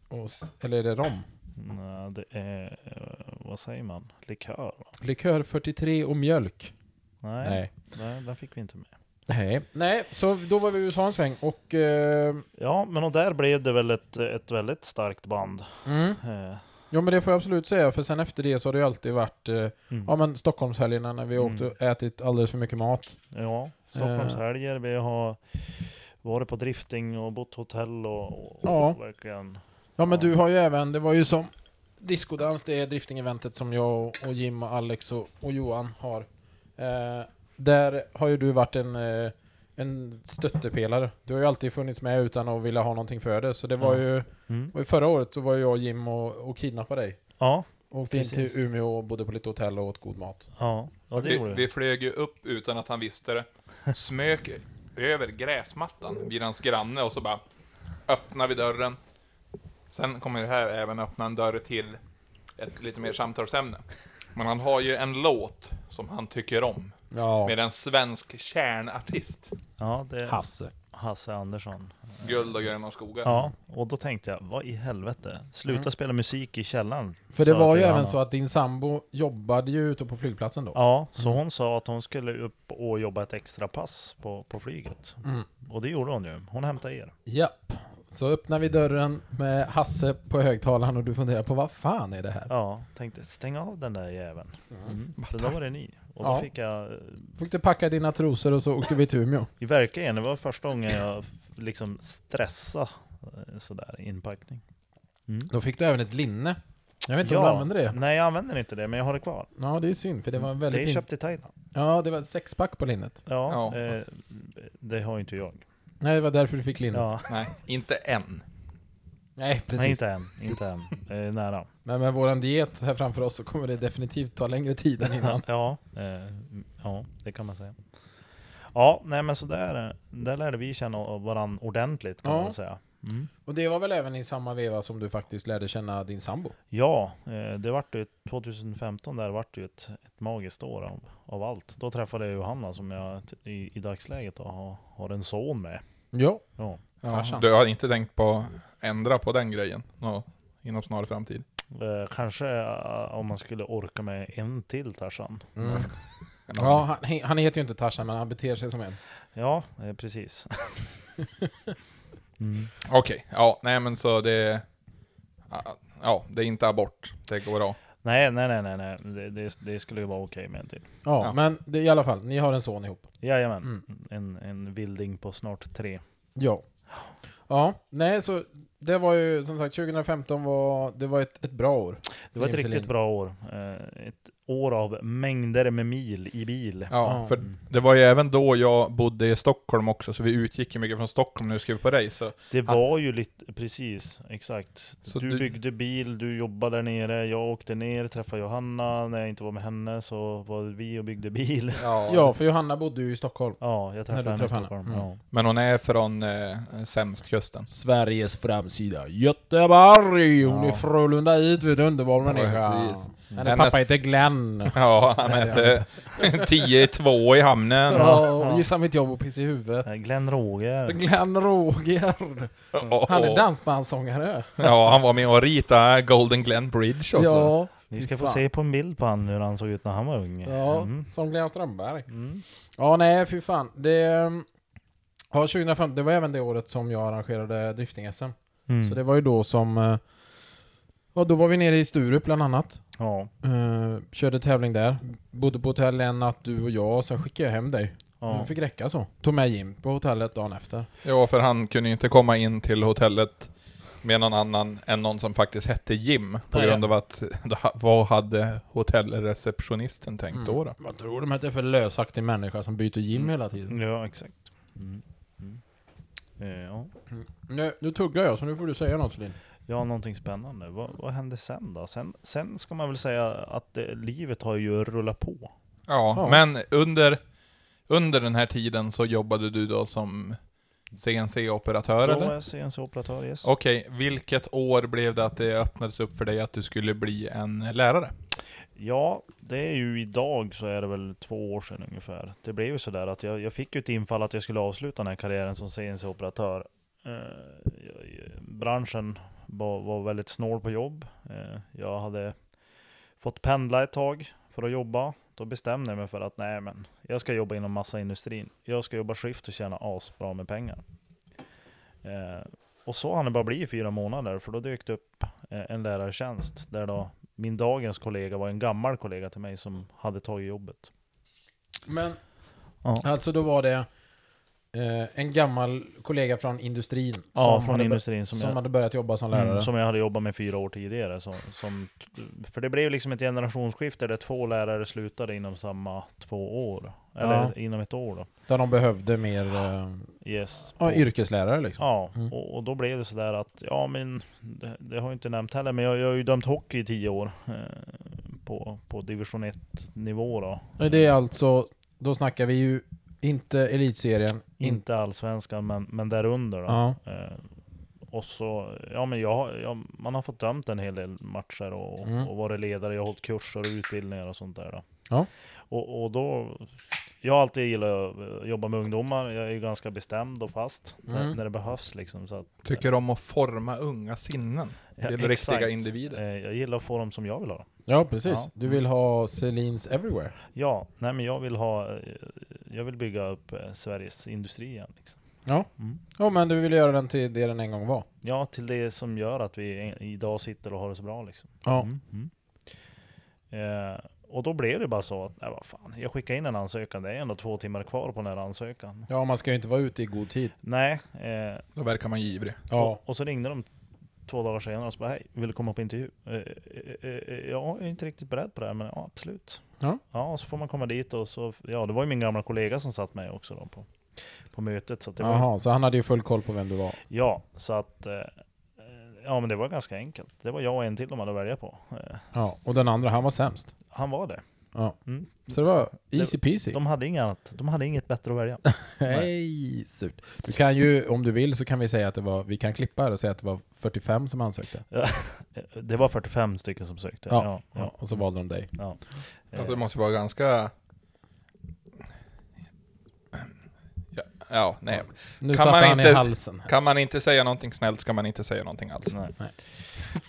Speaker 2: Och, s- eller är det rom?
Speaker 1: Nej, det är, eh, vad säger man, likör? Va?
Speaker 2: Likör 43 och mjölk.
Speaker 1: Nej, Nej.
Speaker 2: Nej.
Speaker 1: den fick vi inte med.
Speaker 2: Nej. Nej, så då var vi i USA en sväng och... Eh,
Speaker 1: Ja, men och där blev det väl ett, ett väldigt starkt band.
Speaker 2: mm.
Speaker 1: Eh,
Speaker 2: Ja men det får jag absolut säga, för sen efter det så har det ju alltid varit eh,
Speaker 1: Mm.
Speaker 2: Ja men Stockholmshelgerna när vi har åkt
Speaker 1: Mm.
Speaker 2: och ätit alldeles för mycket mat.
Speaker 1: Ja,
Speaker 2: Eh.
Speaker 1: Stockholmshelger. Vi har varit på drifting och bott hotell och, och
Speaker 2: Ja.
Speaker 1: verkligen.
Speaker 2: Ja men
Speaker 1: Ja.
Speaker 2: du har ju även, det var ju som Discodans, det disting-eventet som jag och- och Jim och Alex och, och Johan har. Eh, där har ju du varit en, eh, en stöttepelare. Du har ju alltid funnits med utan att vilja ha någonting för det. Så det var
Speaker 1: Ja.
Speaker 2: ju,
Speaker 1: Mm.
Speaker 2: var ju förra året så var ju jag och Jim och, och kidnappade dig.
Speaker 1: Ja,
Speaker 2: Åkte in
Speaker 1: Precis.
Speaker 2: till Umeå och bodde på lite hotell och åt god mat.
Speaker 1: ja, ja det
Speaker 3: Vi,
Speaker 1: gjorde
Speaker 3: vi
Speaker 1: vi.
Speaker 3: flög ju upp utan att han visste det. Smög över gräsmattan vid hans granne och så bara öppnar vi dörren. Sen kommer det här även öppna en dörr till ett lite mer samtalsämne. Men han har ju en låt som han tycker om.
Speaker 2: Ja,
Speaker 3: Med en svensk kärnartist.
Speaker 1: Ja, det är
Speaker 2: Hasse.
Speaker 1: Hasse Andersson.
Speaker 3: Guld och gröna skogar.
Speaker 1: Ja, och då tänkte jag, vad i helvete? Sluta
Speaker 2: Mm.
Speaker 1: spela musik i källaren.
Speaker 2: För det
Speaker 1: sa jag
Speaker 2: var ju
Speaker 1: till
Speaker 2: även
Speaker 1: Johanna.
Speaker 2: så att din sambo jobbade ju ute på Mm. flygplatsen då.
Speaker 1: Ja, så hon sa att hon skulle upp och jobba ett extra pass på, på flyget.
Speaker 2: Mm.
Speaker 1: Och det gjorde hon ju. Hon hämtade er.
Speaker 2: Japp. Så öppnar vi dörren med Hasse på högtalaren och du funderar på vad fan är det här?
Speaker 1: Ja, tänkte stäng av den där jäveln. Mm. Så då var det ni. Och då
Speaker 2: Ja.
Speaker 1: fick jag, eh,
Speaker 2: Fick du packa dina trosor och så åkte vi till Umeå.
Speaker 1: i verkligen, det var första gången jag f- liksom stressa eh, sådär inpackning.
Speaker 2: Då fick du även ett linne. Jag vet inte om du använder det?
Speaker 1: Nej, jag använder inte det, men jag har det kvar.
Speaker 2: Ja, det är synd för Mm. det var en
Speaker 1: Det är
Speaker 2: väldigt fin...
Speaker 1: köpt i Thailand.
Speaker 2: Ja, det var ett sexpack på linnet.
Speaker 1: Ja,
Speaker 3: Ja.
Speaker 1: Eh, det har ju inte jag.
Speaker 2: Nej, det var därför du fick linnet.
Speaker 1: Ja,
Speaker 3: Nej, inte än.
Speaker 2: Nej, precis.
Speaker 1: nej, inte än. Inte än. Eh, nära.
Speaker 2: Men med våran diet här framför oss så kommer det definitivt ta längre tid än innan.
Speaker 1: Ja, eh, ja, det kan man säga. Ja, nej men sådär, där lärde vi känna varandra ordentligt kan
Speaker 2: Ja.
Speaker 1: man väl säga. Mm.
Speaker 2: Och det var väl även i samma veva som du faktiskt lärde känna din sambo?
Speaker 1: Ja, eh, det vart ju 2015 där vart ju ett, ett magiskt år av, av allt. Då träffade jag Johanna som jag t- i, i dagsläget då, har, har en son med.
Speaker 2: Ja.
Speaker 1: Ja.
Speaker 2: Tarzan.
Speaker 3: Du har inte tänkt på att ändra på den grejen? Nå, inom snar framtid?
Speaker 1: Eh, kanske eh, om man skulle orka med en till Tarzan.
Speaker 2: Mm. Ja, han, han heter ju inte Tarzan men han beter sig som en.
Speaker 1: Ja, eh, precis. mm.
Speaker 3: Okej, ja, nej men så det... Ja, det är inte abort. Det går bra.
Speaker 1: Nej, nej, nej, nej, nej. Det, det, det skulle ju vara okej med en till.
Speaker 2: Ja,
Speaker 3: Ja.
Speaker 2: men det, i alla fall, ni har en son ihop.
Speaker 1: Jajamän,
Speaker 2: Mm.
Speaker 1: en, en vilding på snart tre.
Speaker 2: Ja. Ja, nej så det var ju som sagt 2015 var, det var ett, ett bra år.
Speaker 1: Det var ett
Speaker 2: Jim
Speaker 1: riktigt
Speaker 2: Selin.
Speaker 1: bra år. Eh, Ett år av mängder med mil i bil.
Speaker 3: Ja,
Speaker 2: Ja.
Speaker 3: för det var ju även då jag bodde i Stockholm också, så vi utgick ju mycket från Stockholm när vi skrev på race. Så,
Speaker 1: Det var ju lite, precis, exakt.
Speaker 3: Så
Speaker 1: du,
Speaker 3: du-
Speaker 1: byggde bil, du jobbade där nere, jag åkte ner, träffade Johanna, när jag inte var med henne så var vi och byggde bil.
Speaker 3: ja.
Speaker 2: Ja, för Johanna bodde ju i Stockholm.
Speaker 1: Ja, jag träffade
Speaker 2: När du
Speaker 1: henne i
Speaker 2: träffade
Speaker 1: Stockholm.
Speaker 2: henne. Mm.
Speaker 1: Ja.
Speaker 3: Men hon är från eh, sämstkusten.
Speaker 2: Sveriges framsida, Göteborg! Hon
Speaker 3: Ja.
Speaker 2: är Frölunda ut, vet du, underbar
Speaker 3: Ja,
Speaker 2: människa.
Speaker 3: precis.
Speaker 2: Hennes
Speaker 3: Hennes-
Speaker 2: pappa heter Glenn.
Speaker 3: Ja, han
Speaker 2: Nej,
Speaker 3: hette 10 i 2 i hamnen.
Speaker 2: Ja, och gissa mitt jobb och piss i huvudet.
Speaker 1: Eh, Glenn Roger.
Speaker 2: Glenn Roger!
Speaker 3: Ja,
Speaker 2: Han är dansbandssångare.
Speaker 3: Ja, han var med och ritade Golden Glen Bridge också.
Speaker 2: Ja,
Speaker 1: Ni
Speaker 2: Fy
Speaker 1: ska få
Speaker 2: fan.
Speaker 1: se på en bild på han hur han såg ut när han var ung.
Speaker 2: Ja,
Speaker 1: Mm.
Speaker 2: som Glenn Strömberg.
Speaker 1: Mm.
Speaker 2: Ja, nej, fy fan. Det, ehm, ja, 2005, det var även det året som jag arrangerade drifting-SM.
Speaker 1: Mm.
Speaker 2: Så det var ju då som... eh, Ja, då var vi nere i Sturup bland annat.
Speaker 1: Ja,
Speaker 2: Eh, körde tävling där. Bodde på hotell en natt, du och jag. Sen skickade jag hem dig.
Speaker 1: ja.
Speaker 2: Det fick räcka så. Tog med Jim på hotellet dagen efter.
Speaker 3: Ja, för han kunde ju inte komma in till hotellet med någon annan än någon som faktiskt hette Jim. På
Speaker 2: Nej.
Speaker 3: grund av att, vad hade hotellreceptionisten tänkt
Speaker 2: Mm.
Speaker 3: då? då?
Speaker 2: Vad tror de att det är för lösaktig människa som byter Jim
Speaker 1: Mm.
Speaker 2: hela tiden?
Speaker 1: ja exakt. Mm. Mm. Eh, Ja.
Speaker 2: Nu, nu tuggar jag, så nu får du säga något Linn.
Speaker 1: ja, någonting spännande. Vad, vad hände sen då? Sen, sen ska man väl säga att eh, livet har ju rullat på.
Speaker 3: Ja,
Speaker 2: Ja.
Speaker 3: men under, under den här tiden så jobbade du då som CNC-operatör
Speaker 1: Då
Speaker 3: eller?
Speaker 1: var jag CNC-operatör, yes.
Speaker 3: Okej, vilket år blev det att det öppnades upp för dig att du skulle bli en lärare?
Speaker 1: Ja, det är ju idag så är det väl två år sedan ungefär. Det blev ju sådär att jag, jag fick ju ett infall att jag skulle avsluta den här karriären som CNC-operatör. Eh, jag- jag- branschen var, var väldigt snål på jobb. Eh, jag hade fått pendla ett tag för att jobba. Då bestämde jag mig för att nej men, jag ska jobba inom massaindustrin. Jag ska jobba skift och tjäna asbra med pengar. Eh, och så hann det bara bli i fyra månader, för då dök det upp eh, en lärartjänst där då min dagens kollega var en gammal kollega till mig som hade tagit jobbet.
Speaker 2: Men
Speaker 1: Ja,
Speaker 2: alltså då var det eh, en gammal kollega från industrin
Speaker 1: ja
Speaker 2: som,
Speaker 1: från
Speaker 2: hade, bör-
Speaker 1: industrin som,
Speaker 2: som
Speaker 1: jag,
Speaker 2: hade börjat jobba som lärare.
Speaker 1: mm, som jag hade jobbat med fyra år tidigare. Så, som, för det blev liksom ett generationsskifte där två lärare slutade inom samma två år. Eller
Speaker 2: Ja.
Speaker 1: inom ett år då.
Speaker 2: Där de behövde mer eh,
Speaker 1: Yes.
Speaker 2: ja, yrkeslärare liksom.
Speaker 1: Ja,
Speaker 2: Mm.
Speaker 1: och, och då blev det sådär att, ja men, det, det har jag inte nämnt heller, men jag, jag har ju dömt hockey i tio år. Eh, på, på division 1 nivå då.
Speaker 2: Det är alltså, då snackar vi ju inte elitserien. inte
Speaker 1: Inte allsvenskan, men, men därunder då.
Speaker 2: Mm. ja.
Speaker 1: Eh, och så, ja men jag, har- jag, man har fått dömt en hel del matcher och,
Speaker 2: Mm.
Speaker 1: och varit ledare, jag har hållit kurser och utbildningar och sånt där. Då.
Speaker 2: Ja.
Speaker 1: Och, och då, jag har alltid gillat att eh, jobba med ungdomar, jag är ju ganska bestämd och fast när,
Speaker 2: Mm.
Speaker 1: när det behövs liksom. Så att,
Speaker 3: Tycker om att forma unga sinnen
Speaker 1: Ja,
Speaker 3: till
Speaker 1: exakt.
Speaker 3: riktiga individer.
Speaker 1: eh, jag gillar att få dem som jag vill ha dem.
Speaker 2: ja, precis.
Speaker 1: Ja.
Speaker 2: Du vill ha Celines everywhere.
Speaker 1: Ja, nej men jag vill ha, eh, jag vill bygga upp eh, Sveriges industri igen. Liksom.
Speaker 2: Ja.
Speaker 1: Mm.
Speaker 2: Ja, men du vill göra den till det den en gång var.
Speaker 1: Ja, till det som gör att vi en- idag sitter och har det så bra liksom.
Speaker 2: Ja.
Speaker 1: Mm. Mm. Eh, och då blev det bara så att, nej vad fan, jag skickade in en ansökan, det är ändå två timmar kvar på den här ansökan.
Speaker 2: Ja, man ska ju inte vara ute i god tid.
Speaker 1: Nej, eh,
Speaker 3: Då verkar man givrig.
Speaker 2: Ja.
Speaker 1: och, och så ringde de två dagar senare och så bara, hej, vill du komma på intervju? Eh, eh, eh, eh, ja, jag är inte riktigt beredd på det här, men ja, absolut.
Speaker 2: Ja.
Speaker 1: ja, och så får man komma dit och så, ja, det var ju min gamla kollega som satt med också då på, på mötet. Så att det var,
Speaker 2: Jaha, så han hade ju full koll på vem du var.
Speaker 1: ja, så att, eh, eh, ja men det var ganska enkelt. Det var jag och en till de hade att välja på. Eh,
Speaker 2: Ja, och den andra, han var sämst.
Speaker 1: han var det.
Speaker 2: Ja.
Speaker 1: Mm.
Speaker 2: Så det var easy peasy.
Speaker 1: De hade, inget annat, de hade inget bättre att välja.
Speaker 2: Hej, surt. Du kan ju, om du vill, så kan vi säga att det var, vi kan klippa här och säga att det var 45 som ansökte.
Speaker 1: Det var 45 stycken som sökte.
Speaker 2: Ja,
Speaker 1: Ja, Eh, ja,
Speaker 2: Ja, och så valde de dig.
Speaker 3: Alltså det måste vara ganska... Ja, ja nej.
Speaker 2: Nu
Speaker 3: Kan
Speaker 2: satte
Speaker 3: man
Speaker 2: han i
Speaker 3: inte-
Speaker 2: halsen. här.
Speaker 3: Kan man inte säga någonting snällt ska man inte säga någonting alls.
Speaker 1: Nej.
Speaker 2: Nej.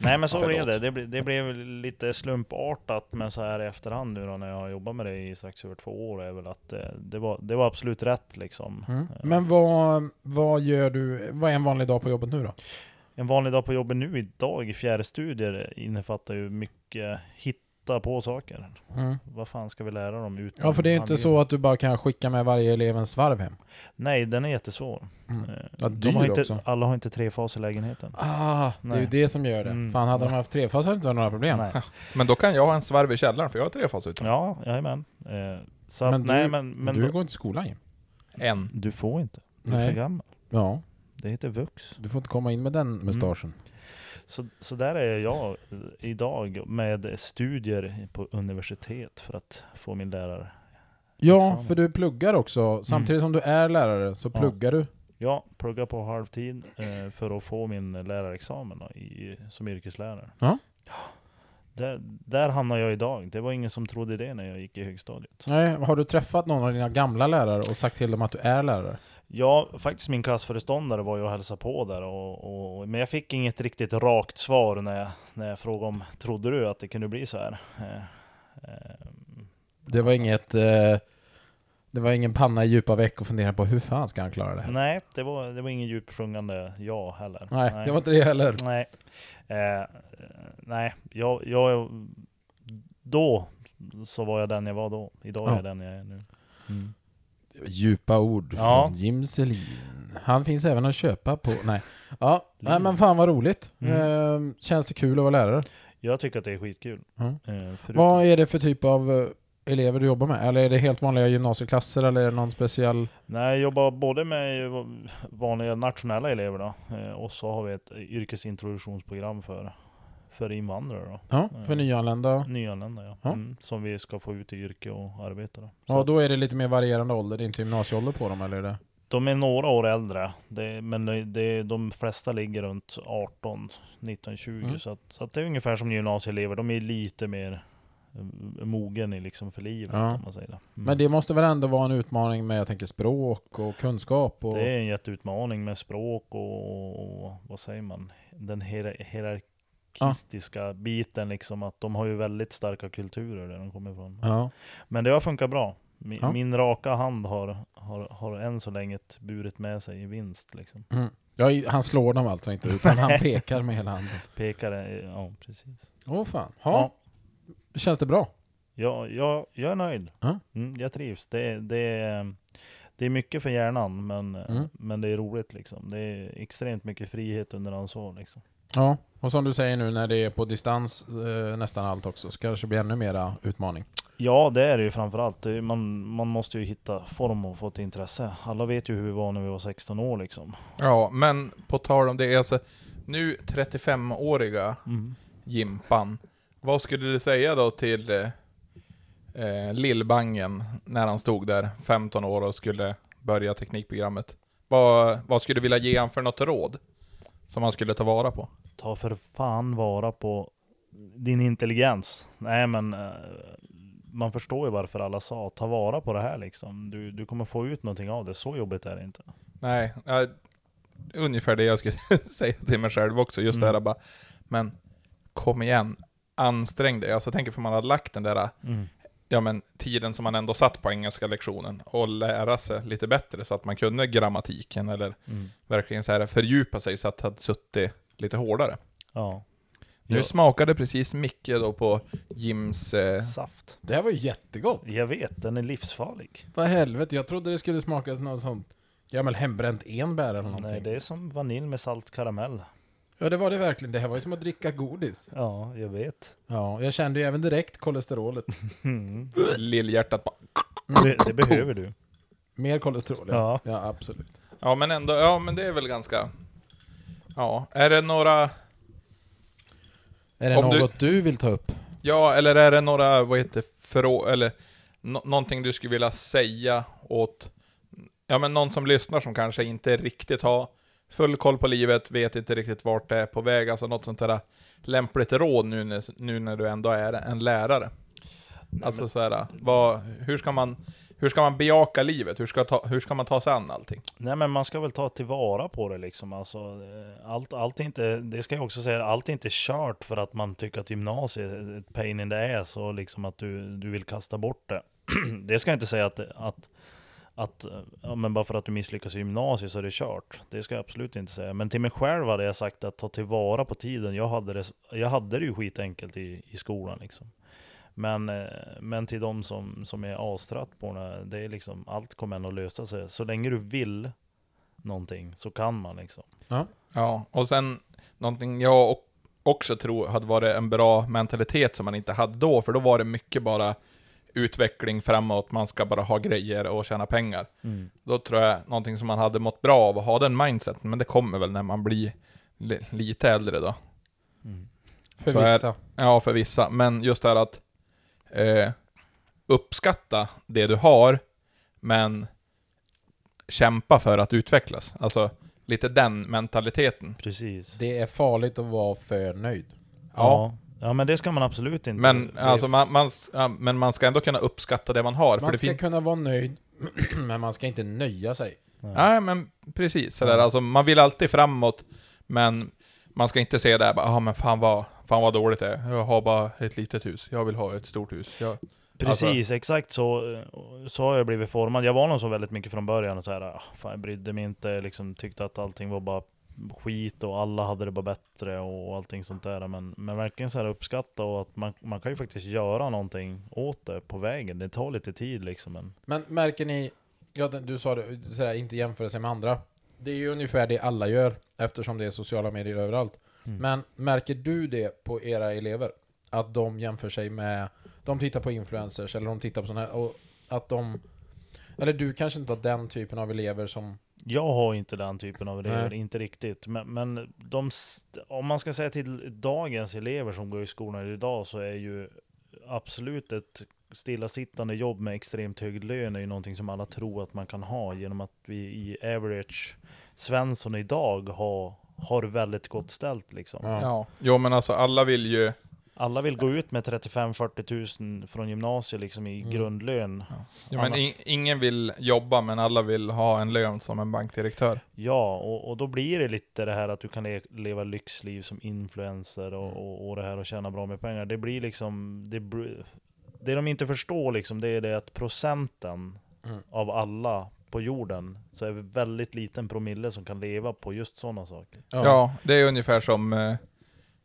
Speaker 1: Nej men så
Speaker 3: Förlåt.
Speaker 1: blev det. Det, ble, det blev lite slumpartat men så här i efterhand nu då när jag har jobbat med det i strax över två år är väl att eh, det var, det var absolut rätt liksom.
Speaker 2: Mm. Men vad, vad gör du, vad är en vanlig dag på jobbet nu då?
Speaker 1: En vanlig dag på jobbet nu idag i fjärrstudier innefattar ju mycket hitta på saker.
Speaker 2: Mm.
Speaker 1: Vad fan ska vi lära dem utan
Speaker 2: Ja, för det är ju inte
Speaker 1: handledning?
Speaker 2: så att du bara kan skicka med varje elev en svarv hem.
Speaker 1: Nej, den är jättesvår.
Speaker 2: Mm.
Speaker 1: Eh, De
Speaker 2: Ja, dyr
Speaker 1: har inte,
Speaker 2: också.
Speaker 1: alla har inte trefas i lägenheten.
Speaker 2: Ah, det är ju
Speaker 1: Nej.
Speaker 2: det som gör det.
Speaker 1: Mm.
Speaker 2: Fan, hade de haft trefas hade det inte varit några problem.
Speaker 1: Nej.
Speaker 3: Men då kan jag ha en svarv i källaren för jag har trefas utan.
Speaker 1: Ja, jajamän. Eh, så
Speaker 2: Men
Speaker 1: att,
Speaker 2: du-
Speaker 1: nej men... men
Speaker 2: du
Speaker 1: då-
Speaker 2: går inte i skolan Jim.
Speaker 3: En.
Speaker 1: Du får inte. Du är
Speaker 2: Nej.
Speaker 1: för gammal.
Speaker 2: Ja,
Speaker 1: Det heter vux.
Speaker 2: du får inte komma in med den mustaschen.
Speaker 1: Så, så där är jag eh, idag med studier på universitet för att få min lärare.
Speaker 2: Ja,
Speaker 1: Examen.
Speaker 2: för du pluggar också. Samtidigt som du är lärare så
Speaker 1: Ja.
Speaker 2: pluggar du.
Speaker 1: Jag pluggar på halvtid eh, för att få min lärarexamen då, i, som yrkeslärare.
Speaker 2: Ja.
Speaker 1: Där, där hamnar jag idag. Det var ingen som trodde det när jag gick i högstadiet.
Speaker 2: Nej, har du träffat någon av dina gamla lärare och sagt till dem att du är lärare?
Speaker 1: Ja, faktiskt min klassföreståndare var ju och hälsade på där, och, och, men jag fick inget riktigt rakt svar när jag, när jag frågade om trodde du att det kunde bli så här? Eh, eh,
Speaker 2: Det var inget... Eh, det var ingen panna i djupa veck och fundera på hur fan ska han klara det här?
Speaker 1: nej, det var, det var ingen djupsjungande ja heller.
Speaker 2: Mm. Nej, det var inte det heller.
Speaker 1: Nej, eh, nej jag, jag, då så var jag den jag var då. Idag är
Speaker 2: Ja.
Speaker 1: jag den jag är nu. Mm.
Speaker 2: Djupa ord
Speaker 1: Ja.
Speaker 2: från Jim Selin. Han finns även att köpa på... Nej. Ja, nej, men fan vad roligt.
Speaker 1: Mm.
Speaker 2: Ehm, känns det kul att vara lärare?
Speaker 1: Jag tycker att det är skitkul.
Speaker 2: Mm.
Speaker 1: Eh, förutom-
Speaker 2: Vad är det för typ av eh, elever du jobbar med? Eller är det helt vanliga gymnasieklasser eller är det någon speciell...
Speaker 1: Nej, jag jobbar både med vanliga nationella elever då, eh, och så har vi ett yrkesintroduktionsprogram för, för invandrare då.
Speaker 2: Ja, för
Speaker 1: Eh.
Speaker 2: nyanlända?
Speaker 1: Nyanlända ja.
Speaker 2: Ja.
Speaker 1: Mm, som vi ska få ut i yrke och arbeta då. Så Mm.
Speaker 2: Ja, då är det lite mer varierande ålder, det är inte gymnasieålder på dem eller? Är det?
Speaker 1: De är några år äldre, det, men det, det, de flesta ligger runt 18, 19, 20.
Speaker 2: Mm.
Speaker 1: Så, att, så att det är ungefär som gymnasieelever, de är lite mer eh, mogen i liksom för livet
Speaker 2: Ja.
Speaker 1: om man säger det. Mm.
Speaker 2: Men det måste väl ändå vara en utmaning med, jag tänker, språk och kunskap och...
Speaker 1: Det är en jätteutmaning med språk och, och vad säger man, den hier hierarkistiska biten liksom. Att de har ju väldigt starka kulturer där de kommer ifrån.
Speaker 2: Ja.
Speaker 1: Men det har funkat bra. Min,
Speaker 2: Ja.
Speaker 1: min raka hand har, har, har än så länge burit med sig i vinst. Liksom.
Speaker 2: Mm. ja, han slår dem alltså inte, utan han pekar med hela handen.
Speaker 1: Pekare, ja precis.
Speaker 2: Åh fan.
Speaker 1: Ja.
Speaker 2: Ja. Känns det bra?
Speaker 1: Ja, jag, jag är nöjd.
Speaker 2: Ja.
Speaker 1: Mm, jag trivs. Det, det, det är mycket för hjärnan, men,
Speaker 2: Mm.
Speaker 1: men det är roligt. Liksom. Det är extremt mycket frihet under ansvar. Liksom.
Speaker 2: Ja, och som du säger nu när det är på distans eh, nästan allt också, så kanske det blir ännu mera utmaning.
Speaker 1: Ja, det är det ju framförallt. Det är- Man, man måste ju hitta form och få ett intresse. Alla vet ju hur vi var när vi var 16 år liksom.
Speaker 3: Ja, men på tal om det, alltså nu 35-åriga
Speaker 1: Mm.
Speaker 3: Jimpan. Vad skulle du säga då till eh, eh, Lillbangen när han stod där 15 år och skulle börja teknikprogrammet? Vad, vad skulle du vilja ge han för något råd? Som han skulle ta vara på?
Speaker 1: Ta för fan vara på din intelligens. Nej men, eh, man förstår ju varför alla sa ta vara på det här liksom. Du, du kommer få ut någonting av det. Så jobbigt är det inte.
Speaker 3: Nej, eh, ungefär det jag skulle säga till mig själv också. Just det
Speaker 1: Mm.
Speaker 3: här bara, men kom igen, ansträng dig. Alltså tänk för man har lagt den där
Speaker 1: Mm.
Speaker 3: ja, men, tiden som man ändå satt på engelska lektionen och lära sig lite bättre så att man kunde grammatiken eller
Speaker 1: Mm.
Speaker 3: verkligen så här fördjupa sig så att det hade suttit lite hårdare.
Speaker 1: Ja.
Speaker 3: Nu
Speaker 1: Ja.
Speaker 3: smakade precis Micke då på Jims... Eh,
Speaker 1: Saft.
Speaker 2: Det här var ju jättegott!
Speaker 1: Jag vet, den är livsfarlig.
Speaker 2: Vad helvete, jag trodde det skulle smaka som något sånt gammal hembränt enbär eller någonting.
Speaker 1: Nej, det är som vanilj med salt karamell.
Speaker 2: Ja, det var det verkligen. Det här var ju som att dricka godis.
Speaker 1: Ja, jag vet.
Speaker 2: Ja, jag kände ju även direkt kolesterolet.
Speaker 1: Mm.
Speaker 3: lillhjärtat bara...
Speaker 1: Det, det behöver du.
Speaker 2: Mer kolesterol, ja. ja. absolut.
Speaker 3: Ja men ändå, ja men det är väl ganska... Ja, är det några...
Speaker 2: Är det
Speaker 3: Om du-
Speaker 2: något du... vill ta upp?
Speaker 3: Ja, eller är det några, vad heter frå... Eller nå- någonting du skulle vilja säga åt... Ja men någon som lyssnar som kanske inte riktigt har full koll på livet, vet inte riktigt vart det är på väg, alltså något sånt där lämpligt råd nu när, nu när du ändå är en lärare. Alltså så här, vad, hur, ska man, hur ska man bejaka livet? Hur ska, ta, hur ska man ta sig an allting?
Speaker 1: Nej men man ska väl ta tillvara på det liksom. Alltså, eh, allt, allt är inte, det ska jag också säga, allt är inte kört för att man tycker att gymnasiet är ett pain in the ass och liksom att du, du vill kasta bort det. det ska jag inte säga att, att, att eh, ja, men bara för att du misslyckas i gymnasiet så är det kört. Det ska jag absolut inte säga. Men till mig själv hade jag sagt att ta tillvara på tiden. Jag hade det, jag hade det ju skitenkelt i, i skolan liksom. Men, eh, men till de som, som är astrött på det, det är liksom, allt kommer ändå lösa sig. Så länge du vill någonting så kan man liksom.
Speaker 3: Ja, och sen någonting jag o- också tror hade varit en bra mentalitet som man inte hade då, för då var det mycket bara utveckling framåt, man ska bara ha grejer och tjäna pengar. Då tror jag någonting som man hade mått bra av att ha den mindseten, men det kommer väl när man blir li- lite äldre då.
Speaker 1: Mm.
Speaker 2: För
Speaker 3: Så är-
Speaker 2: vissa.
Speaker 3: Ja, för vissa, men just det här att eh, uppskatta det du har, men kämpa för att utvecklas. Alltså, lite den mentaliteten.
Speaker 1: Precis.
Speaker 2: Det är farligt att vara för nöjd.
Speaker 3: ja.
Speaker 1: ja. Ja men det ska man absolut inte.
Speaker 3: Men,
Speaker 1: Det-
Speaker 3: alltså, man, man, ja, men man ska ändå kunna uppskatta det man har. för
Speaker 2: Man
Speaker 3: det
Speaker 2: ska
Speaker 3: fin-
Speaker 2: kunna vara nöjd, men man ska inte nöja sig.
Speaker 3: Nej, men precis. Sådär. Alltså, man vill alltid framåt, men man ska inte se det här bara, ah, men fan vad, fan vad dåligt det är. Jag har bara ett litet hus. Jag vill ha ett stort hus. Jag...
Speaker 1: Precis, exakt så, så har jag blivit formad. Jag var nog så väldigt mycket från början, och så här, ah, fan, jag brydde mig inte, liksom, tyckte att allting var bara skit och alla hade det bara bättre och allting sånt där. Men, men verkligen så här uppskatta och att man, man kan ju faktiskt göra någonting åt det på vägen. Det tar lite tid liksom. Men
Speaker 2: Men märker ni, ja, den- du sa det, sådär, inte jämföra sig med andra. Det är ju ungefär det alla gör eftersom det är sociala medier överallt.
Speaker 3: Mm.
Speaker 2: Men märker du det på era elever? Att de jämför sig med, de tittar på influencers eller de tittar på sådana här, och att de, eller du kanske inte har den typen av elever som,
Speaker 1: Jag har inte den typen av elever,
Speaker 2: Nej.
Speaker 1: inte riktigt. Men, men de, s- om man ska säga till dagens elever som går i skolan idag så är ju absolut ett stillasittande jobb med extremt hög lön är ju någonting som alla tror att man kan ha genom att vi i average Svensson idag har, har väldigt gott ställt liksom.
Speaker 2: ja.
Speaker 3: Ja. Jo, men alltså alla vill ju...
Speaker 1: Alla vill gå ut med 35-40 tusen från gymnasiet liksom
Speaker 2: Mm.
Speaker 1: i grundlön.
Speaker 3: Ja, men
Speaker 1: Annars-
Speaker 3: in, ingen vill jobba, men alla vill ha en lön som en bankdirektör.
Speaker 1: Ja, och, och då blir det lite det här att du kan le leva lyxliv som influencer
Speaker 3: Mm.
Speaker 1: och, och, och det här och tjäna bra med pengar. Det blir liksom, det, br- det de inte förstår liksom, det är det att procenten
Speaker 2: Mm.
Speaker 1: av alla på jorden, så är det väldigt liten promille som kan leva på just sådana saker.
Speaker 3: Ja. det är ungefär som eh,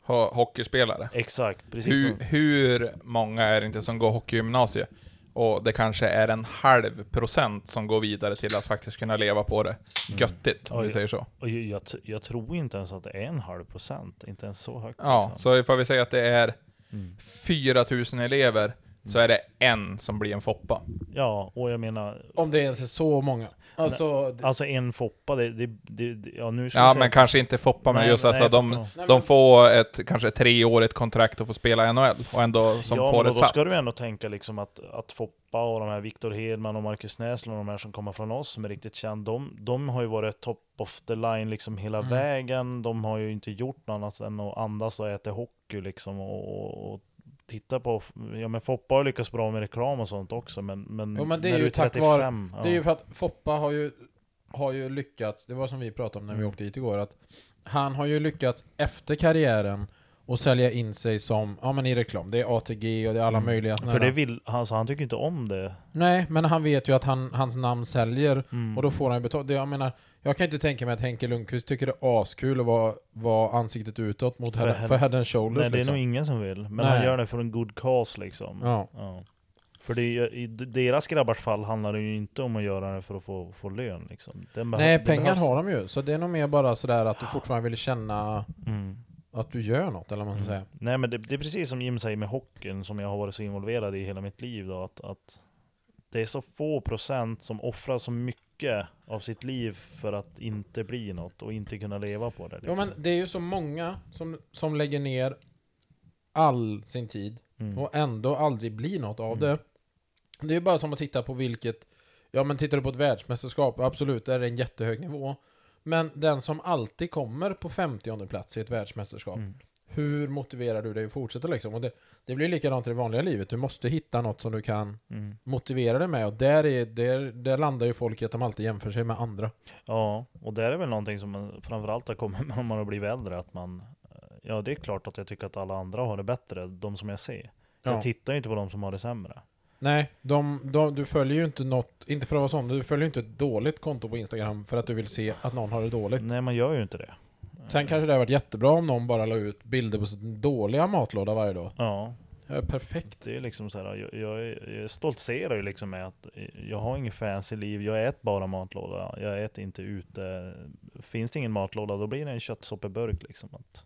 Speaker 3: ho- hockeyspelare.
Speaker 1: Exakt, precis
Speaker 3: Hur,
Speaker 1: som,
Speaker 3: hur många är det inte som går hockeygymnasiet? Och det kanske är en halv procent som går vidare till att faktiskt kunna leva på det. Göttigt,
Speaker 1: Mm.
Speaker 3: om vi
Speaker 1: Oj. Liksom.
Speaker 3: säger så.
Speaker 1: Mm. och jag, jag, t- jag tror inte ens att det är en halv procent, inte ens så högt.
Speaker 3: Ja,
Speaker 1: liksom.
Speaker 3: så ifall vi säger att det är
Speaker 1: Mm.
Speaker 3: 4000 elever, så är det en som blir en foppa.
Speaker 1: ja, och jag menar,
Speaker 2: Om det ens är så många. Alltså, det-
Speaker 1: alltså en foppa, det, det, det, det ja nu ska vi
Speaker 3: Ja,
Speaker 1: säga-
Speaker 3: men kanske inte foppa, men
Speaker 1: Nej,
Speaker 3: just
Speaker 1: nej,
Speaker 3: alltså
Speaker 1: jag
Speaker 3: de,
Speaker 1: förstår.
Speaker 2: Nej, men-
Speaker 3: de får ett kanske treårigt kontrakt och får spela i NHL, och ändå som
Speaker 1: ja,
Speaker 3: får
Speaker 1: men
Speaker 3: det
Speaker 1: då, då
Speaker 3: satt.
Speaker 1: ska du ändå tänka liksom att, att Foppa och de här Viktor Hedman och Marcus Näslund och de här som kommer från oss som är riktigt kända, de, de har ju varit top of the line liksom hela
Speaker 3: Mm.
Speaker 1: vägen. De har ju inte gjort något annat än att andas och äta hockey liksom och, och, och titta på, ja men Foppa har lyckats bra med reklam och sånt också men, men,
Speaker 2: Jo, men det är
Speaker 1: när
Speaker 2: ju
Speaker 1: du
Speaker 2: tack
Speaker 1: 35,
Speaker 2: vare-
Speaker 1: ja.
Speaker 2: Det är ju för att Foppa har ju, har ju lyckats, det var som vi pratade om när vi
Speaker 1: Mm.
Speaker 2: åkte hit igår, att han har ju lyckats efter karriären och sälja in sig som, ja men i reklam, det är ATG och det är alla möjliga såna
Speaker 1: Mm. För det
Speaker 2: här-
Speaker 1: vill, alltså han tycker inte om det.
Speaker 2: Nej, men han vet ju att han, hans namn säljer
Speaker 1: Mm.
Speaker 2: och då får han ju betalt. Det Jag menar, jag kan inte tänka mig att Henke Lundqvist tycker det är askul att vara, vara ansiktet utåt mot
Speaker 1: För
Speaker 2: head,
Speaker 1: hen-
Speaker 2: för head and shoulders
Speaker 1: Nej det är
Speaker 2: liksom.
Speaker 1: nog ingen som vill, men
Speaker 2: Nej.
Speaker 1: han gör det för en good cause liksom.
Speaker 2: Ja.
Speaker 1: Ja. För det är, ju- i d- deras grabbars fall handlar det ju inte om att göra det för att få, få lön liksom. Den behö-
Speaker 2: Nej,
Speaker 1: det
Speaker 2: pengar
Speaker 1: behövs.
Speaker 2: har de ju, så det är nog mer bara sådär att du fortfarande vill känna
Speaker 1: Mm.
Speaker 2: att du gör något, eller vad man ska säga.
Speaker 1: Nej men det, det är precis som Jim säger med hockeyn, som jag har varit så involverad i hela mitt liv då, att, att det är så få procent som offrar så mycket av sitt liv för att inte bli något och inte kunna leva på det.
Speaker 2: Jo
Speaker 1: Liksom.
Speaker 2: men det är ju så många som, som lägger ner all sin tid
Speaker 1: Mm.
Speaker 2: och ändå aldrig blir något av
Speaker 1: Mm.
Speaker 2: det. Det är ju bara som att titta på vilket, ja men tittar du på ett världsmästerskap, absolut, där är det en jättehög nivå. Men den som alltid kommer på 50 plats i ett världsmästerskap,
Speaker 1: Mm.
Speaker 2: hur motiverar du dig att fortsätta liksom? Och det, det blir likadant i det vanliga livet, du måste hitta något som du kan
Speaker 1: Mm.
Speaker 2: motivera dig med och där, är, där, där landar ju folk i att de alltid jämför sig med andra.
Speaker 1: Ja, och det är väl någonting som man framförallt har kommit med när man har blivit äldre, att man Ja det är klart att jag tycker att alla andra har det bättre, de som jag ser.
Speaker 2: Ja.
Speaker 1: Jag tittar ju inte på de som har det sämre.
Speaker 2: Nej, de, de, du följer ju inte något, inte för att vara sån, du följer ju inte ett dåligt konto på Instagram för att du vill se att någon har det dåligt.
Speaker 1: Nej man gör ju inte det.
Speaker 2: Sen kanske det hade varit jättebra om någon bara la ut bilder på sin dåliga matlåda varje dag.
Speaker 1: Ja,
Speaker 2: Det är perfekt.
Speaker 1: det är liksom så här, jag, jag, är- jag stoltserar ju liksom med att jag har ingen fancy liv, jag äter bara matlåda, jag äter inte ute. Finns det ingen matlåda då blir det en köttsoppeburk liksom. Att,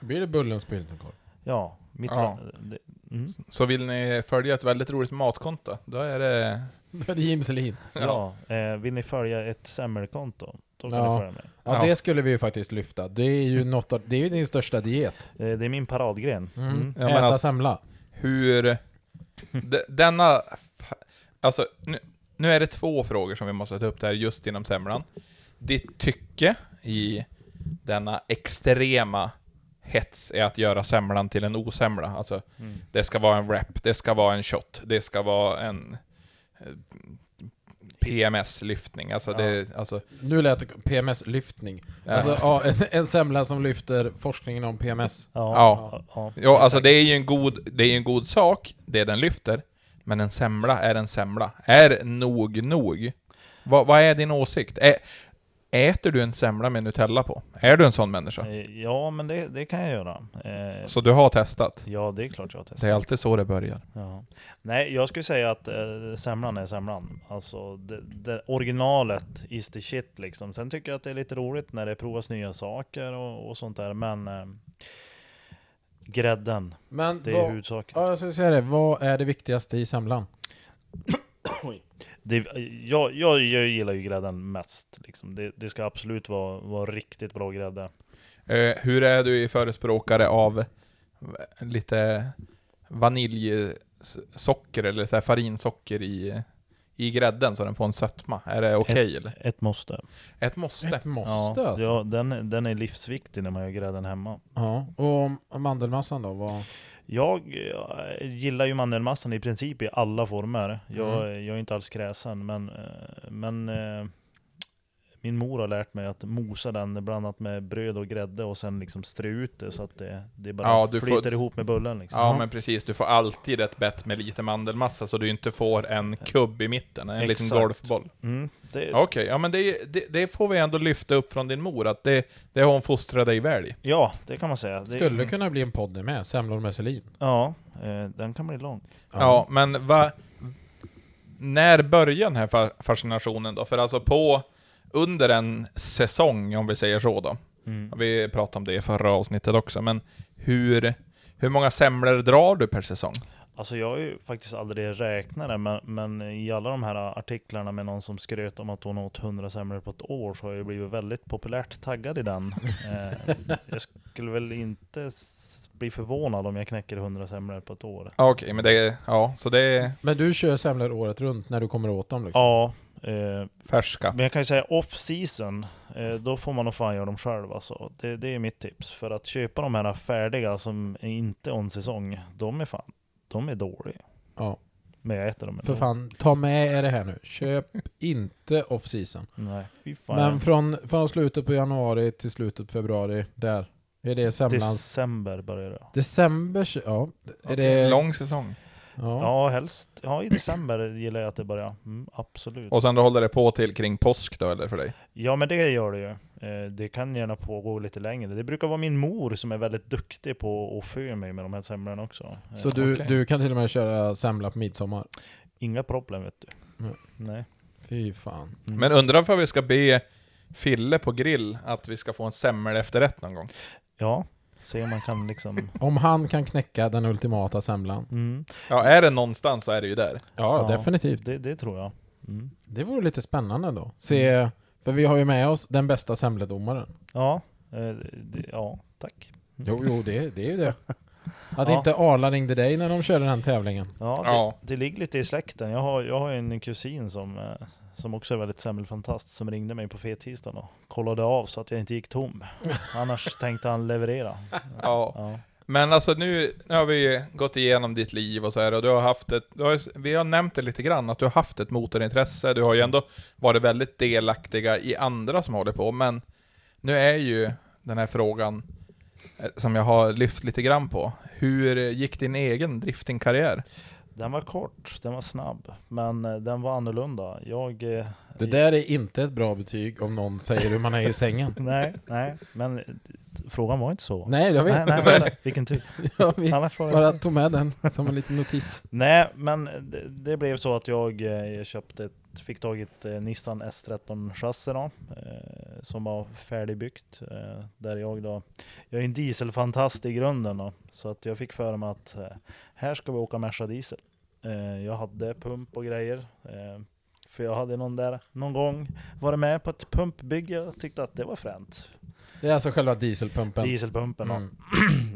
Speaker 2: Då blir det bullens bilderkorv.
Speaker 1: ja, mitt
Speaker 3: Ja.
Speaker 1: Det, mm,
Speaker 3: Så vill ni följa ett väldigt roligt matkonto, då är det...
Speaker 2: Då är det Jim Selin.
Speaker 1: ja. Eh, vill ni följa ett semmelkonto? Då kan
Speaker 2: Ja.
Speaker 1: ni följa mig.
Speaker 2: Ja,
Speaker 3: Ja.
Speaker 2: det skulle vi ju faktiskt lyfta. Det är ju, något av, det är ju din största diet.
Speaker 1: Eh, det är min paradgren.
Speaker 2: Mm.
Speaker 1: Mm.
Speaker 3: Ja, men
Speaker 2: Äta
Speaker 3: alltså-
Speaker 2: semla.
Speaker 3: Hur... de- Denna... fa- Alltså, nu, nu är det två frågor som vi måste ta upp där just inom semlan. Ditt tycke i denna extrema hets är att göra semlan till en osemla. Alltså,
Speaker 1: Mm.
Speaker 3: det ska vara en wrap, det ska vara en shot, det ska vara en... eh, PMS-lyftning. Alltså det, alltså,
Speaker 2: Nu lät det PMS-lyftning.
Speaker 3: Ja.
Speaker 2: Alltså ja, en, en semla som lyfter forskningen om PMS.
Speaker 1: Ja.
Speaker 3: Ja.
Speaker 1: ja.
Speaker 3: Jo, alltså det är ju en god, det är ju en god sak, det den lyfter. Men en semla är en semla. Är nog nog? Vad, vad är din åsikt? Ä, äter du en semla med Nutella på? Är du en sån människa?
Speaker 1: Eh, Ja, men det, det kan jag göra. Eh,
Speaker 3: Så du har testat?
Speaker 1: ja, det är klart jag har
Speaker 3: Det
Speaker 1: testat.
Speaker 3: är alltid så det börjar.
Speaker 1: Ja. Nej, jag skulle säga att eh, semlan är semlan. Alltså, det, det, originalet is the shit liksom. Sen tycker jag att det är lite roligt när det provas nya saker och, och sånt där, men eh, grädden,
Speaker 2: Men
Speaker 1: det är
Speaker 2: vad,
Speaker 1: huvudsaken.
Speaker 2: ja, jag skulle säga det. Vad är det viktigaste i semlan?
Speaker 1: Det, jag, jag, jag gillar ju grädden mest. Liksom. Det, det ska absolut vara, vara riktigt bra grädde.
Speaker 3: Eh, hur är du i förespråkare av v- lite vaniljsocker eller så här farinsocker i, i grädden så den får en sötma? Är det okej eller?
Speaker 1: Ett måste.
Speaker 3: Ett måste.
Speaker 2: Ett måste
Speaker 1: ja,
Speaker 2: alltså.
Speaker 1: ja, den, den är livsviktig när man gör grädden hemma.
Speaker 2: Ja. Och mandelmassan då? Vad...
Speaker 1: Jag eh, gillar ju mandelmassan i princip i alla former.
Speaker 3: Mm.
Speaker 1: Jag, eh, jag är inte alls kräsen, men, eh, men eh, min mor har lärt mig att mosa den blandat med bröd och grädde och sen liksom strö ut det så att det, det bara
Speaker 3: Ja, du får-
Speaker 1: flyter ihop med bullen. Liksom.
Speaker 3: Ja men precis, du får alltid ett bett med lite mandelmassa så du inte får en kubb i mitten, en liten
Speaker 1: Exakt.
Speaker 3: golfboll.
Speaker 1: Mm, det,
Speaker 3: Okej, ja men det, det, det får vi ändå lyfta upp från din mor, att det, det har hon fostrat dig väl i.
Speaker 1: ja, det kan man säga. Det,
Speaker 2: Skulle kunna bli en podd det med, semlor med Selin.
Speaker 1: Ja, eh, den kan bli lång.
Speaker 3: Ja, men va, När började den här fa- fascinationen då? För alltså på... Under en säsong, om vi säger så då.
Speaker 1: Mm.
Speaker 3: Vi pratade om det i förra avsnittet också, men hur... Hur många semlor drar du per säsong?
Speaker 1: Alltså jag har ju faktiskt aldrig räknat det, men, men i alla de här artiklarna med någon som skröt om att hon åt 100 semlor på ett år så har jag ju blivit väldigt populärt taggad i den. Eh, jag skulle väl inte s- bli förvånad om jag knäcker 100 semlor på ett
Speaker 2: Liksom.
Speaker 1: år.
Speaker 3: Ja, Okej, men det är... Ja, så det är
Speaker 2: Men du kör semlor året runt när du kommer åt dem liksom?
Speaker 1: Ja, eh,
Speaker 3: färska.
Speaker 1: men jag kan ju säga off season, eh, då får man nog fan göra dem själv alltså. det, det är mitt tips. För att köpa de här färdiga som är inte on säsong, de är fan, de är dåliga.
Speaker 2: Ja.
Speaker 1: Men jag äter dem ändå.
Speaker 2: För fan, ta med er det här nu. Köp inte off season.
Speaker 1: Nej, fy fan.
Speaker 2: Men från, från slutet på januari till slutet på februari, där. Är det semlans...
Speaker 1: December börjar det.
Speaker 2: December, kö- ja. Är det...
Speaker 3: Lång säsong.
Speaker 2: Ja.
Speaker 1: Ja, helst. Ja, i december gillar jag att det börjar. Mm, absolut.
Speaker 3: Och sen då håller det på till kring påsk då, eller för dig?
Speaker 1: Ja, men det gör det ju. Eh, Det kan gärna pågå lite längre. Det brukar vara min mor som är väldigt duktig på att fö mig med de här semlorna också. Eh,
Speaker 2: Så du,
Speaker 3: Okej.
Speaker 2: du kan till och med köra semla på midsommar?
Speaker 1: Inga problem vet du.
Speaker 2: Mm.
Speaker 1: Nej.
Speaker 2: Fy fan.
Speaker 1: Mm.
Speaker 3: Men undrar varför vi ska be Fille på grill att vi ska få en semmel efterrätt någon gång?
Speaker 1: Ja, se om man kan liksom...
Speaker 2: Om han kan knäcka den ultimata semlan?
Speaker 1: Mm.
Speaker 3: Ja, är det någonstans så är det ju där.
Speaker 2: Ja, definitivt.
Speaker 1: Det, det tror jag. Mm.
Speaker 2: Det vore lite spännande då. Se, för vi har ju med oss den bästa semledomaren.
Speaker 1: Ja, eh, det, ja, tack.
Speaker 2: Jo, jo, det, det är ju det. Att
Speaker 1: Ja.
Speaker 2: inte Arla ringde dig när de körde den tävlingen.
Speaker 1: Ja, det,
Speaker 3: Ja.
Speaker 1: det ligger lite i släkten. Jag har, jag har ju en kusin som, eh, som också är väldigt semmelfantast som ringde mig på fettisdagen och kollade av så att jag inte gick tom. Annars tänkte han leverera.
Speaker 3: Ja.
Speaker 1: Ja.
Speaker 3: Men alltså nu, nu har vi ju gått igenom ditt liv och så här och du har haft ett, du har, ju- vi har nämnt det lite grann, att du har haft ett motorintresse, du har ju ändå varit väldigt delaktiga i andra som håller på, men nu är ju den här frågan eh, som jag har lyft lite grann på. Hur gick din egen driftingkarriär?
Speaker 1: Den var kort, den var snabb, men eh, den var annorlunda. Jag... eh,
Speaker 2: Det där är inte ett bra betyg om någon säger hur man är i sängen.
Speaker 1: Nej, nej, men eh, frågan var inte så.
Speaker 2: Nej, jag
Speaker 1: nej,
Speaker 2: vet.
Speaker 1: nej,
Speaker 2: Nej,
Speaker 1: nej, vilken tur.
Speaker 2: vi
Speaker 1: Annars var det...
Speaker 2: bara tog med den som en liten notis.
Speaker 1: Nej, men det, det blev så att jag eh, köpte ett, fick tag i ett eh, Nissan S13-chassi då, eh, som var färdigbyggt. Eh, där jag då, jag är en dieselfantast i grunden då, så att jag fick för mig att eh, här ska vi åka Merca diesel. Eh, jag hade pump och grejer, eh, för jag hade någon där någon gång varit med på ett pumpbygge och tyckte att det var fränt.
Speaker 2: Det är alltså själva dieselpumpen.
Speaker 1: Dieselpumpen då.
Speaker 2: Mm.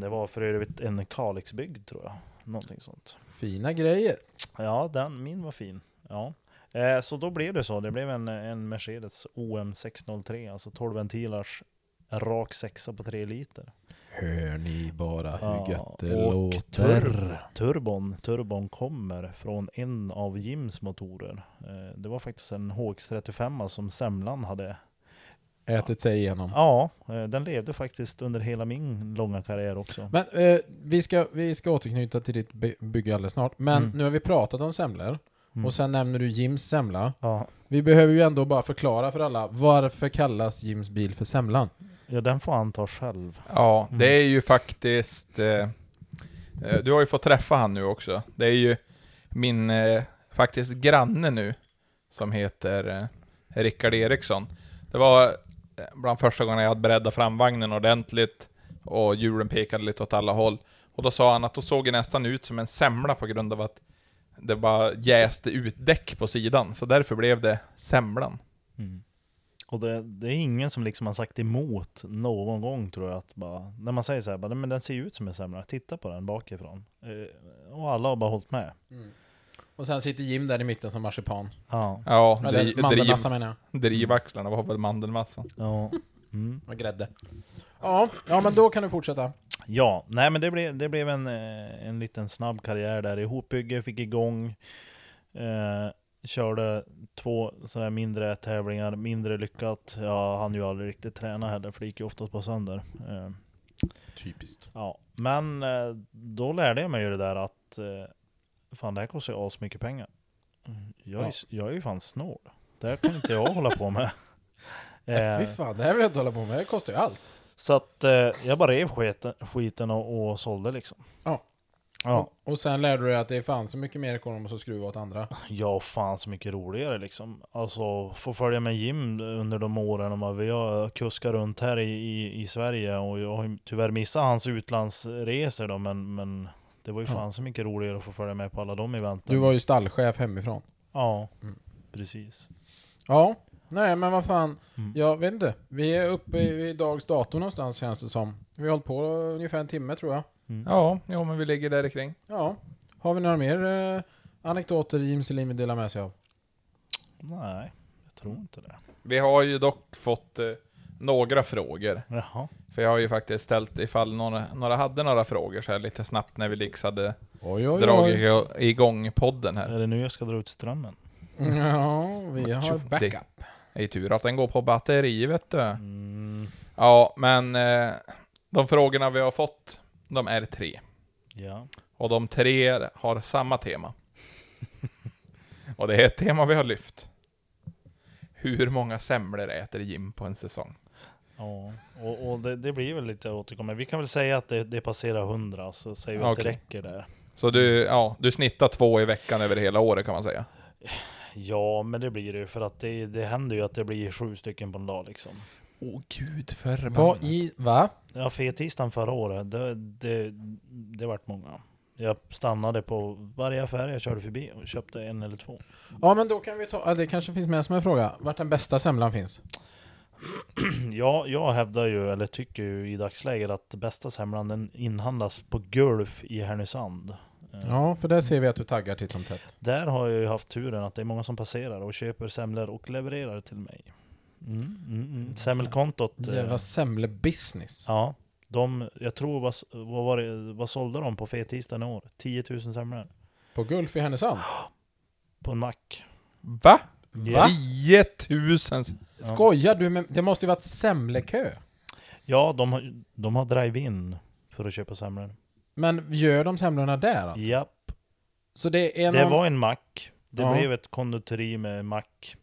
Speaker 1: Det var för övrigt en Kalixbygd tror jag, någonting sånt.
Speaker 2: Fina grejer.
Speaker 1: Ja, den, min var fin. Ja. Eh, så då blev det så. Det blev en, en Mercedes OM603, alltså 12 ventilars rak sexa på 3 liter.
Speaker 2: Hör ni bara hur
Speaker 1: Ja,
Speaker 2: gött det
Speaker 1: och
Speaker 2: låter?
Speaker 1: Tur, turbon, turbon kommer från en av Jims motorer. Eh, Det var faktiskt en HX35 som Semlan hade.
Speaker 2: Ätit sig igenom.
Speaker 1: Ja, eh, den levde faktiskt under hela min långa karriär också.
Speaker 2: Men eh, vi, ska, vi ska återknyta till ditt by- bygge alldeles snart. Men
Speaker 1: Mm.
Speaker 2: nu har vi pratat om semlor.
Speaker 1: Mm.
Speaker 2: Och sen nämner du Jims semla.
Speaker 1: Ja,
Speaker 2: Vi behöver ju ändå bara förklara för alla, varför kallas Jims bil för Semlan?
Speaker 1: ja, den får han ta själv.
Speaker 3: Ja,
Speaker 1: Mm.
Speaker 3: det är ju faktiskt... Eh, eh, du har ju fått träffa han nu också. Det är ju min, eh, faktiskt, granne nu, som heter eh, Rickard Eriksson. Det var eh, bland första gångerna jag hade breddat framvagnen ordentligt och hjulen pekade lite åt alla håll. Och då sa han att då såg det nästan ut som en semla på grund av att det bara jäste ut däck på sidan, så därför blev det semlan.
Speaker 1: Mm. Och det, det är ingen som liksom har sagt emot någon gång tror jag att bara, när man säger så här, bara, "Nej, men den ser ju ut som en semla, titta på den bakifrån. Eh, Och alla har bara hållit med.
Speaker 2: Mm. Och sen sitter Jim där i mitten som marsipan.
Speaker 1: Ja,
Speaker 3: Ja,
Speaker 2: Eller
Speaker 3: dri, driv,
Speaker 2: mandelmassa menar jag.
Speaker 3: drivaxlarna var väl mandelmassan.
Speaker 1: ja. Mm.
Speaker 2: Och grädde. Ja, ja men då kan du fortsätta.
Speaker 1: Ja, nej men det blev, det blev en, eh, en liten snabb karriär där. Ihopbygge, fick igång, eh, körde två sådana här mindre tävlingar, mindre lyckat. Jag hann ju aldrig riktigt träna heller, för det gick ju oftast på sönder. Eh,
Speaker 2: Typiskt.
Speaker 1: ja. Men eh, då lärde jag mig ju det där att eh, fan det här kostar ju asmycket pengar. Mm, Jag är, ju s- jag är ju fan snål. Det här kan inte jag hålla på med.
Speaker 2: Äh, fy
Speaker 1: Eh,
Speaker 2: fan, det här vill jag inte hålla på med. Det kostar ju allt.
Speaker 1: så att eh, jag bara rev skiten, skiten och, och sålde liksom.
Speaker 2: Ja.
Speaker 1: Ja.
Speaker 2: Och, och sen lärde du dig att det är fan så mycket mer ekonomiskt att skruva åt andra.
Speaker 1: Ja, fan så mycket roligare liksom. Alltså, få följa med Jim under de åren. Och man- vi har kuskat runt här i, i, i Sverige och jag har ju tyvärr missat hans utlandsresor då, men, men det var ju
Speaker 2: Ja.
Speaker 1: fan så mycket roligare att få följa med på alla de eventen.
Speaker 2: Du var ju stallchef hemifrån.
Speaker 1: Ja,
Speaker 2: Mm.
Speaker 1: precis.
Speaker 2: Ja, nej men vad fan.
Speaker 1: Mm.
Speaker 2: Jag vet inte. Vi är uppe i, vid dags dator någonstans känns det som. Vi har hållit på ungefär en timme tror jag.
Speaker 1: Mm.
Speaker 3: Ja, jo men vi ligger där ikring.
Speaker 2: Ja. Har vi några mer eh, anekdoter Jim Selim vill dela med sig av?
Speaker 1: Nej, jag tror inte det.
Speaker 3: Vi har ju dock fått eh, några frågor.
Speaker 1: Jaha.
Speaker 3: För jag har ju faktiskt ställt ifall några, några hade några frågor så här lite snabbt när vi liksom hade
Speaker 2: Oj, oj,
Speaker 3: dragit igå- igång podden här.
Speaker 1: Är det nu jag ska dra ut strömmen?
Speaker 2: Mm. Ja, vi har backup.
Speaker 3: Det är ju tur att den går på batteri vet du.
Speaker 1: Mm,
Speaker 3: Ja, men eh, de frågorna vi har fått, de är tre.
Speaker 1: ja.
Speaker 3: Och de tre har samma tema. Och det är ett tema vi har lyft. Hur många semlor äter Jim på en säsong?
Speaker 1: Ja, och, och det, det blir väl lite återkommande. Vi kan väl säga att det, det passerar 100, så säger vi att det
Speaker 3: Okej.
Speaker 1: räcker där.
Speaker 3: Så du, ja, du snittar två i veckan över hela året kan man säga.
Speaker 1: Ja, men det blir det ju för att det, det händer ju att det blir sju stycken på en dag liksom.
Speaker 3: Åh oh, gud förbannat.
Speaker 2: Vad i... Va?
Speaker 1: Ja, fettisdagen förra året, det, det, det vart många. Jag stannade på varje affär jag körde förbi och köpte en eller två.
Speaker 2: Ja men då kan vi ta... ja, Det kanske finns med som en fråga. Vart den bästa semlan finns?
Speaker 1: Mm. Ja, jag hävdar ju, eller tycker ju i dagsläget att bästa semlan den inhandlas på Gulf i Härnösand. Eh,
Speaker 2: Ja, för där ser vi att du taggar titt som tätt.
Speaker 1: Där har jag ju haft turen att det är många som passerar och köper semlor och levererar till mig. Mm, mm, mm. Semmelkontot. eh,
Speaker 2: Jävla semlebusiness.
Speaker 1: Ja, de, jag tror, vad, vad, var det, vad sålde de på fettisdagen i år? 10 000 semlor
Speaker 2: På Gulf i Härnösand?
Speaker 1: på en mack.
Speaker 3: Va?
Speaker 1: Ja.
Speaker 3: 10 000?
Speaker 2: Skojar du? Men det måste ju varit semlekö.
Speaker 1: Ja, de, har- de har drive-in för att köpa semlor.
Speaker 2: Men gör de semlorna där? Alltså?
Speaker 1: Japp,
Speaker 2: Så det är
Speaker 1: det
Speaker 2: någon...
Speaker 1: var en mack. Det
Speaker 2: Ja.
Speaker 1: blev ett konditori med mack.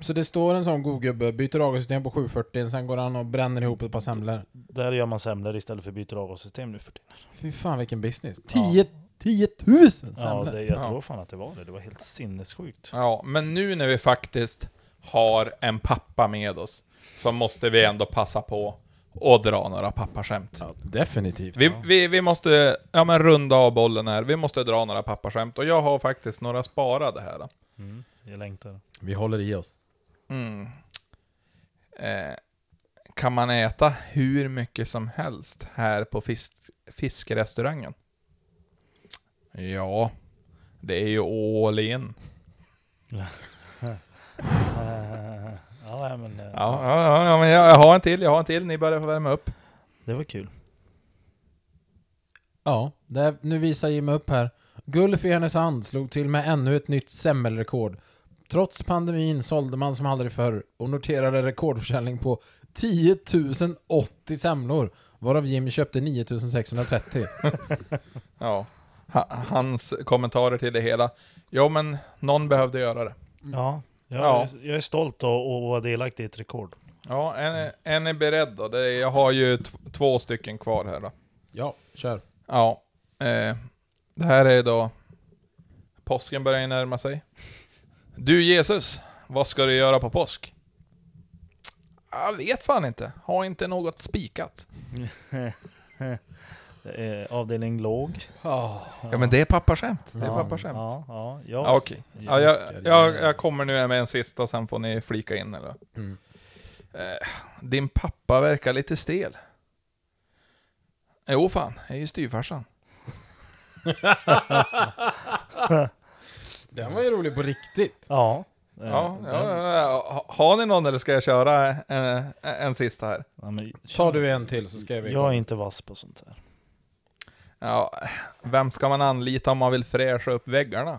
Speaker 2: Så det står en sån god gubbe, byter avgassystem på 740, sen går han och bränner ihop ett par semlor.
Speaker 1: Där gör man semlor istället för byter avgassystem nu för tiden.
Speaker 2: Fy fan vilken business.
Speaker 1: Ja.
Speaker 2: 10 10 000 semlor!
Speaker 1: Ja, det, jag
Speaker 3: Ja.
Speaker 1: tror fan att det var det. Det var helt sinnessjukt.
Speaker 3: Ja, men nu när vi faktiskt har en pappa med oss så måste vi ändå passa på att dra några pappaskämt.
Speaker 2: Ja, definitivt.
Speaker 3: Vi, vi, vi måste ja, men runda av bollen här. Vi måste dra några pappaskämt och jag har faktiskt några sparade här. Då.
Speaker 1: Mm, jag längtar.
Speaker 2: Vi håller i oss.
Speaker 3: Mm. Eh, kan man äta hur mycket som helst här på fisk, fiskrestaurangen? Ja, det är ju all in.
Speaker 1: ja, Ja, nej, men, eh,
Speaker 3: Ja, ja, ja, ja, men jag jag har en till, jag har en till. Ni börjar få värma upp.
Speaker 1: Det var kul.
Speaker 2: Ja, där, nu visar Jim upp här. Gulf i Härnösand slog till med ännu ett nytt semmelrekord. Trots pandemin sålde man som aldrig förr och noterade rekordförsäljning på 10 080 semlor, varav Jim köpte 9 630.
Speaker 3: Ja. Ha- Hans kommentarer till det hela. Jo, men någon behövde göra det.
Speaker 1: Ja, jag,
Speaker 3: Ja.
Speaker 1: jag är stolt att att vara delaktig i ett rekord.
Speaker 3: Ja, en, är- en är beredd då. Det, jag har ju tv- två stycken kvar här då.
Speaker 2: Ja, kör.
Speaker 3: Ja. Eh, det här är då... Påsken börjar ju närma sig. Du Jesus, vad ska du göra på påsk? Jag vet fan inte. Har inte något spikat.
Speaker 1: Eh, avdelning låg.
Speaker 3: Ja, men det är pappaskämt. Det är
Speaker 2: Ja,
Speaker 3: pappaskämt.
Speaker 1: Ja, ja, jag,
Speaker 3: Ja, okej. Ja, jag, jag, jag kommer nu med en sista, sen får ni flika in eller?
Speaker 2: Mm.
Speaker 3: Eh, din pappa verkar lite stel. Jo fan, jag är ju styvfarsan.
Speaker 2: Den var ju rolig på riktigt.
Speaker 1: ja, eh,
Speaker 3: Ja, ja,
Speaker 1: den-
Speaker 3: ja, ja. Ha- Har ni någon eller ska jag köra en, en sista här?
Speaker 1: ja, men,
Speaker 2: Sa du en till så ska vi...
Speaker 1: jag är inte vass på sånt här.
Speaker 3: Ja, vem ska man anlita om man vill fräscha upp väggarna?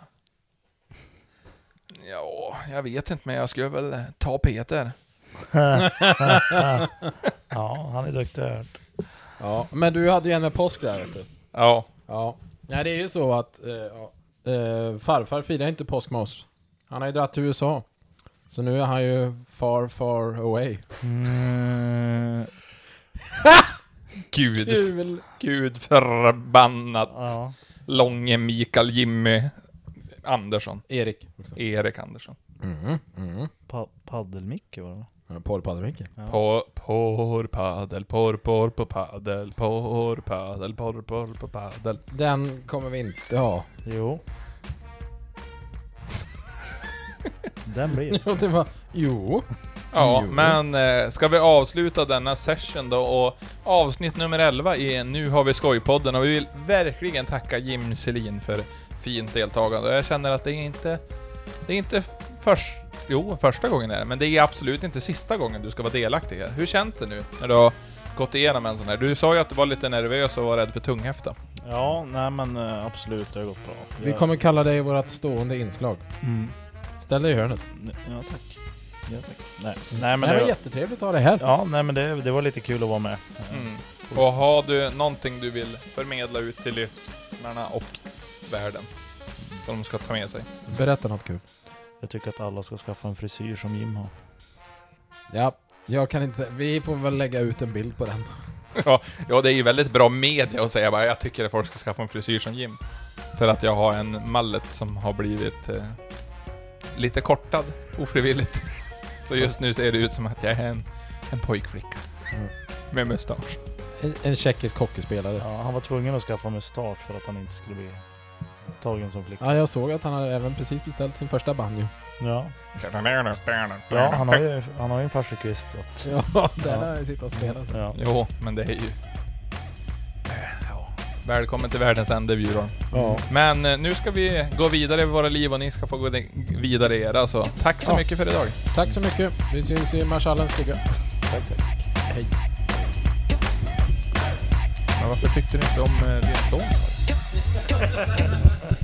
Speaker 3: Ja, jag vet inte men jag skulle väl ta Peter.
Speaker 1: Ja, han är duktig. har jag hört.
Speaker 2: Ja, men du hade ju en med påsk där vet du.
Speaker 3: Ja.
Speaker 2: Ja. Nej, det är ju så att eh, ja, eh, farfar firar inte påsk med oss. Han har ju dratt till USA. Så nu är han ju far, far away.
Speaker 1: Mm,
Speaker 3: Gud, gud förbannat.
Speaker 1: ja.
Speaker 3: Långe Mikael Jimmy Andersson.
Speaker 2: Erik.
Speaker 3: Erik Andersson.
Speaker 2: Mm, mm.
Speaker 1: Pa- Paddelmicke var det va?
Speaker 2: Porrpaddervinkel.
Speaker 1: Ja.
Speaker 3: Por, por, padel, por, por, på padel, por, padel, por, por, på padel.
Speaker 2: Den kommer vi inte ha.
Speaker 1: Jo. Den blir det.
Speaker 2: Ja, det var... Jo.
Speaker 3: Ja,
Speaker 2: Jo.
Speaker 3: men eh, ska vi avsluta denna session då och avsnitt nummer 11 i Nu har vi skojpodden och vi vill verkligen tacka Jim Selin för fint deltagande. Och Jag känner att det är inte, det är inte först, jo, första gången är det, men det är absolut inte sista gången du ska vara delaktig här. Hur känns det nu när du har gått igenom en sån här? Du sa ju att du var lite nervös och var rädd för tunghäfta.
Speaker 1: Ja, nej men eh, absolut, det har gått bra.
Speaker 2: Vi
Speaker 1: Jag-
Speaker 2: kommer kalla dig vårt stående inslag.
Speaker 1: Mm.
Speaker 2: Ställ dig i hörnet.
Speaker 1: Ja tack. Ja, tack. Nej. nej men
Speaker 2: det var
Speaker 1: Mm. det,
Speaker 2: jättetrevligt att ha dig här.
Speaker 1: ja, nej, men det, det var lite kul att vara med.
Speaker 3: Mm. Och har du någonting du vill förmedla ut till lyssnarna och världen som de ska ta med sig?
Speaker 2: Berätta något kul.
Speaker 1: Jag tycker att alla ska skaffa en frisyr som Jim har.
Speaker 2: Ja, jag kan inte säga. Vi får väl lägga ut en bild på den.
Speaker 3: Ja, det är ju väldigt bra media att säga bara jag tycker att folk ska skaffa en frisyr som Jim. För att jag har en mallet som har blivit eh, lite kortad ofrivilligt. Så just nu ser det ut som att jag är en, en pojkflicka.
Speaker 2: Mm.
Speaker 3: Med mustasch.
Speaker 2: En, en tjeckisk hockeyspelare.
Speaker 1: Ja, han var tvungen att skaffa mustasch för att han inte skulle bli tagen som flicka.
Speaker 2: Ja, jag såg att han hade även precis beställt sin första banjo.
Speaker 1: Ja, ja han, har ju, han har ju en farsakvist.
Speaker 2: Ja,
Speaker 1: Ja.
Speaker 2: där har jag suttit och spelat.
Speaker 1: Ja.
Speaker 3: Jo, men det är ju... Eh, Ja. Välkommen till världens ände, Bjurholm.
Speaker 2: Ja.
Speaker 3: Men eh, nu ska vi gå vidare i våra liv och ni ska få gå de- vidare i era, så tack så
Speaker 2: Ja.
Speaker 3: mycket för idag.
Speaker 2: Tack så mycket. Vi syns i Marschallens stuga.
Speaker 3: Men varför tyckte du inte om eh, din son? sa du?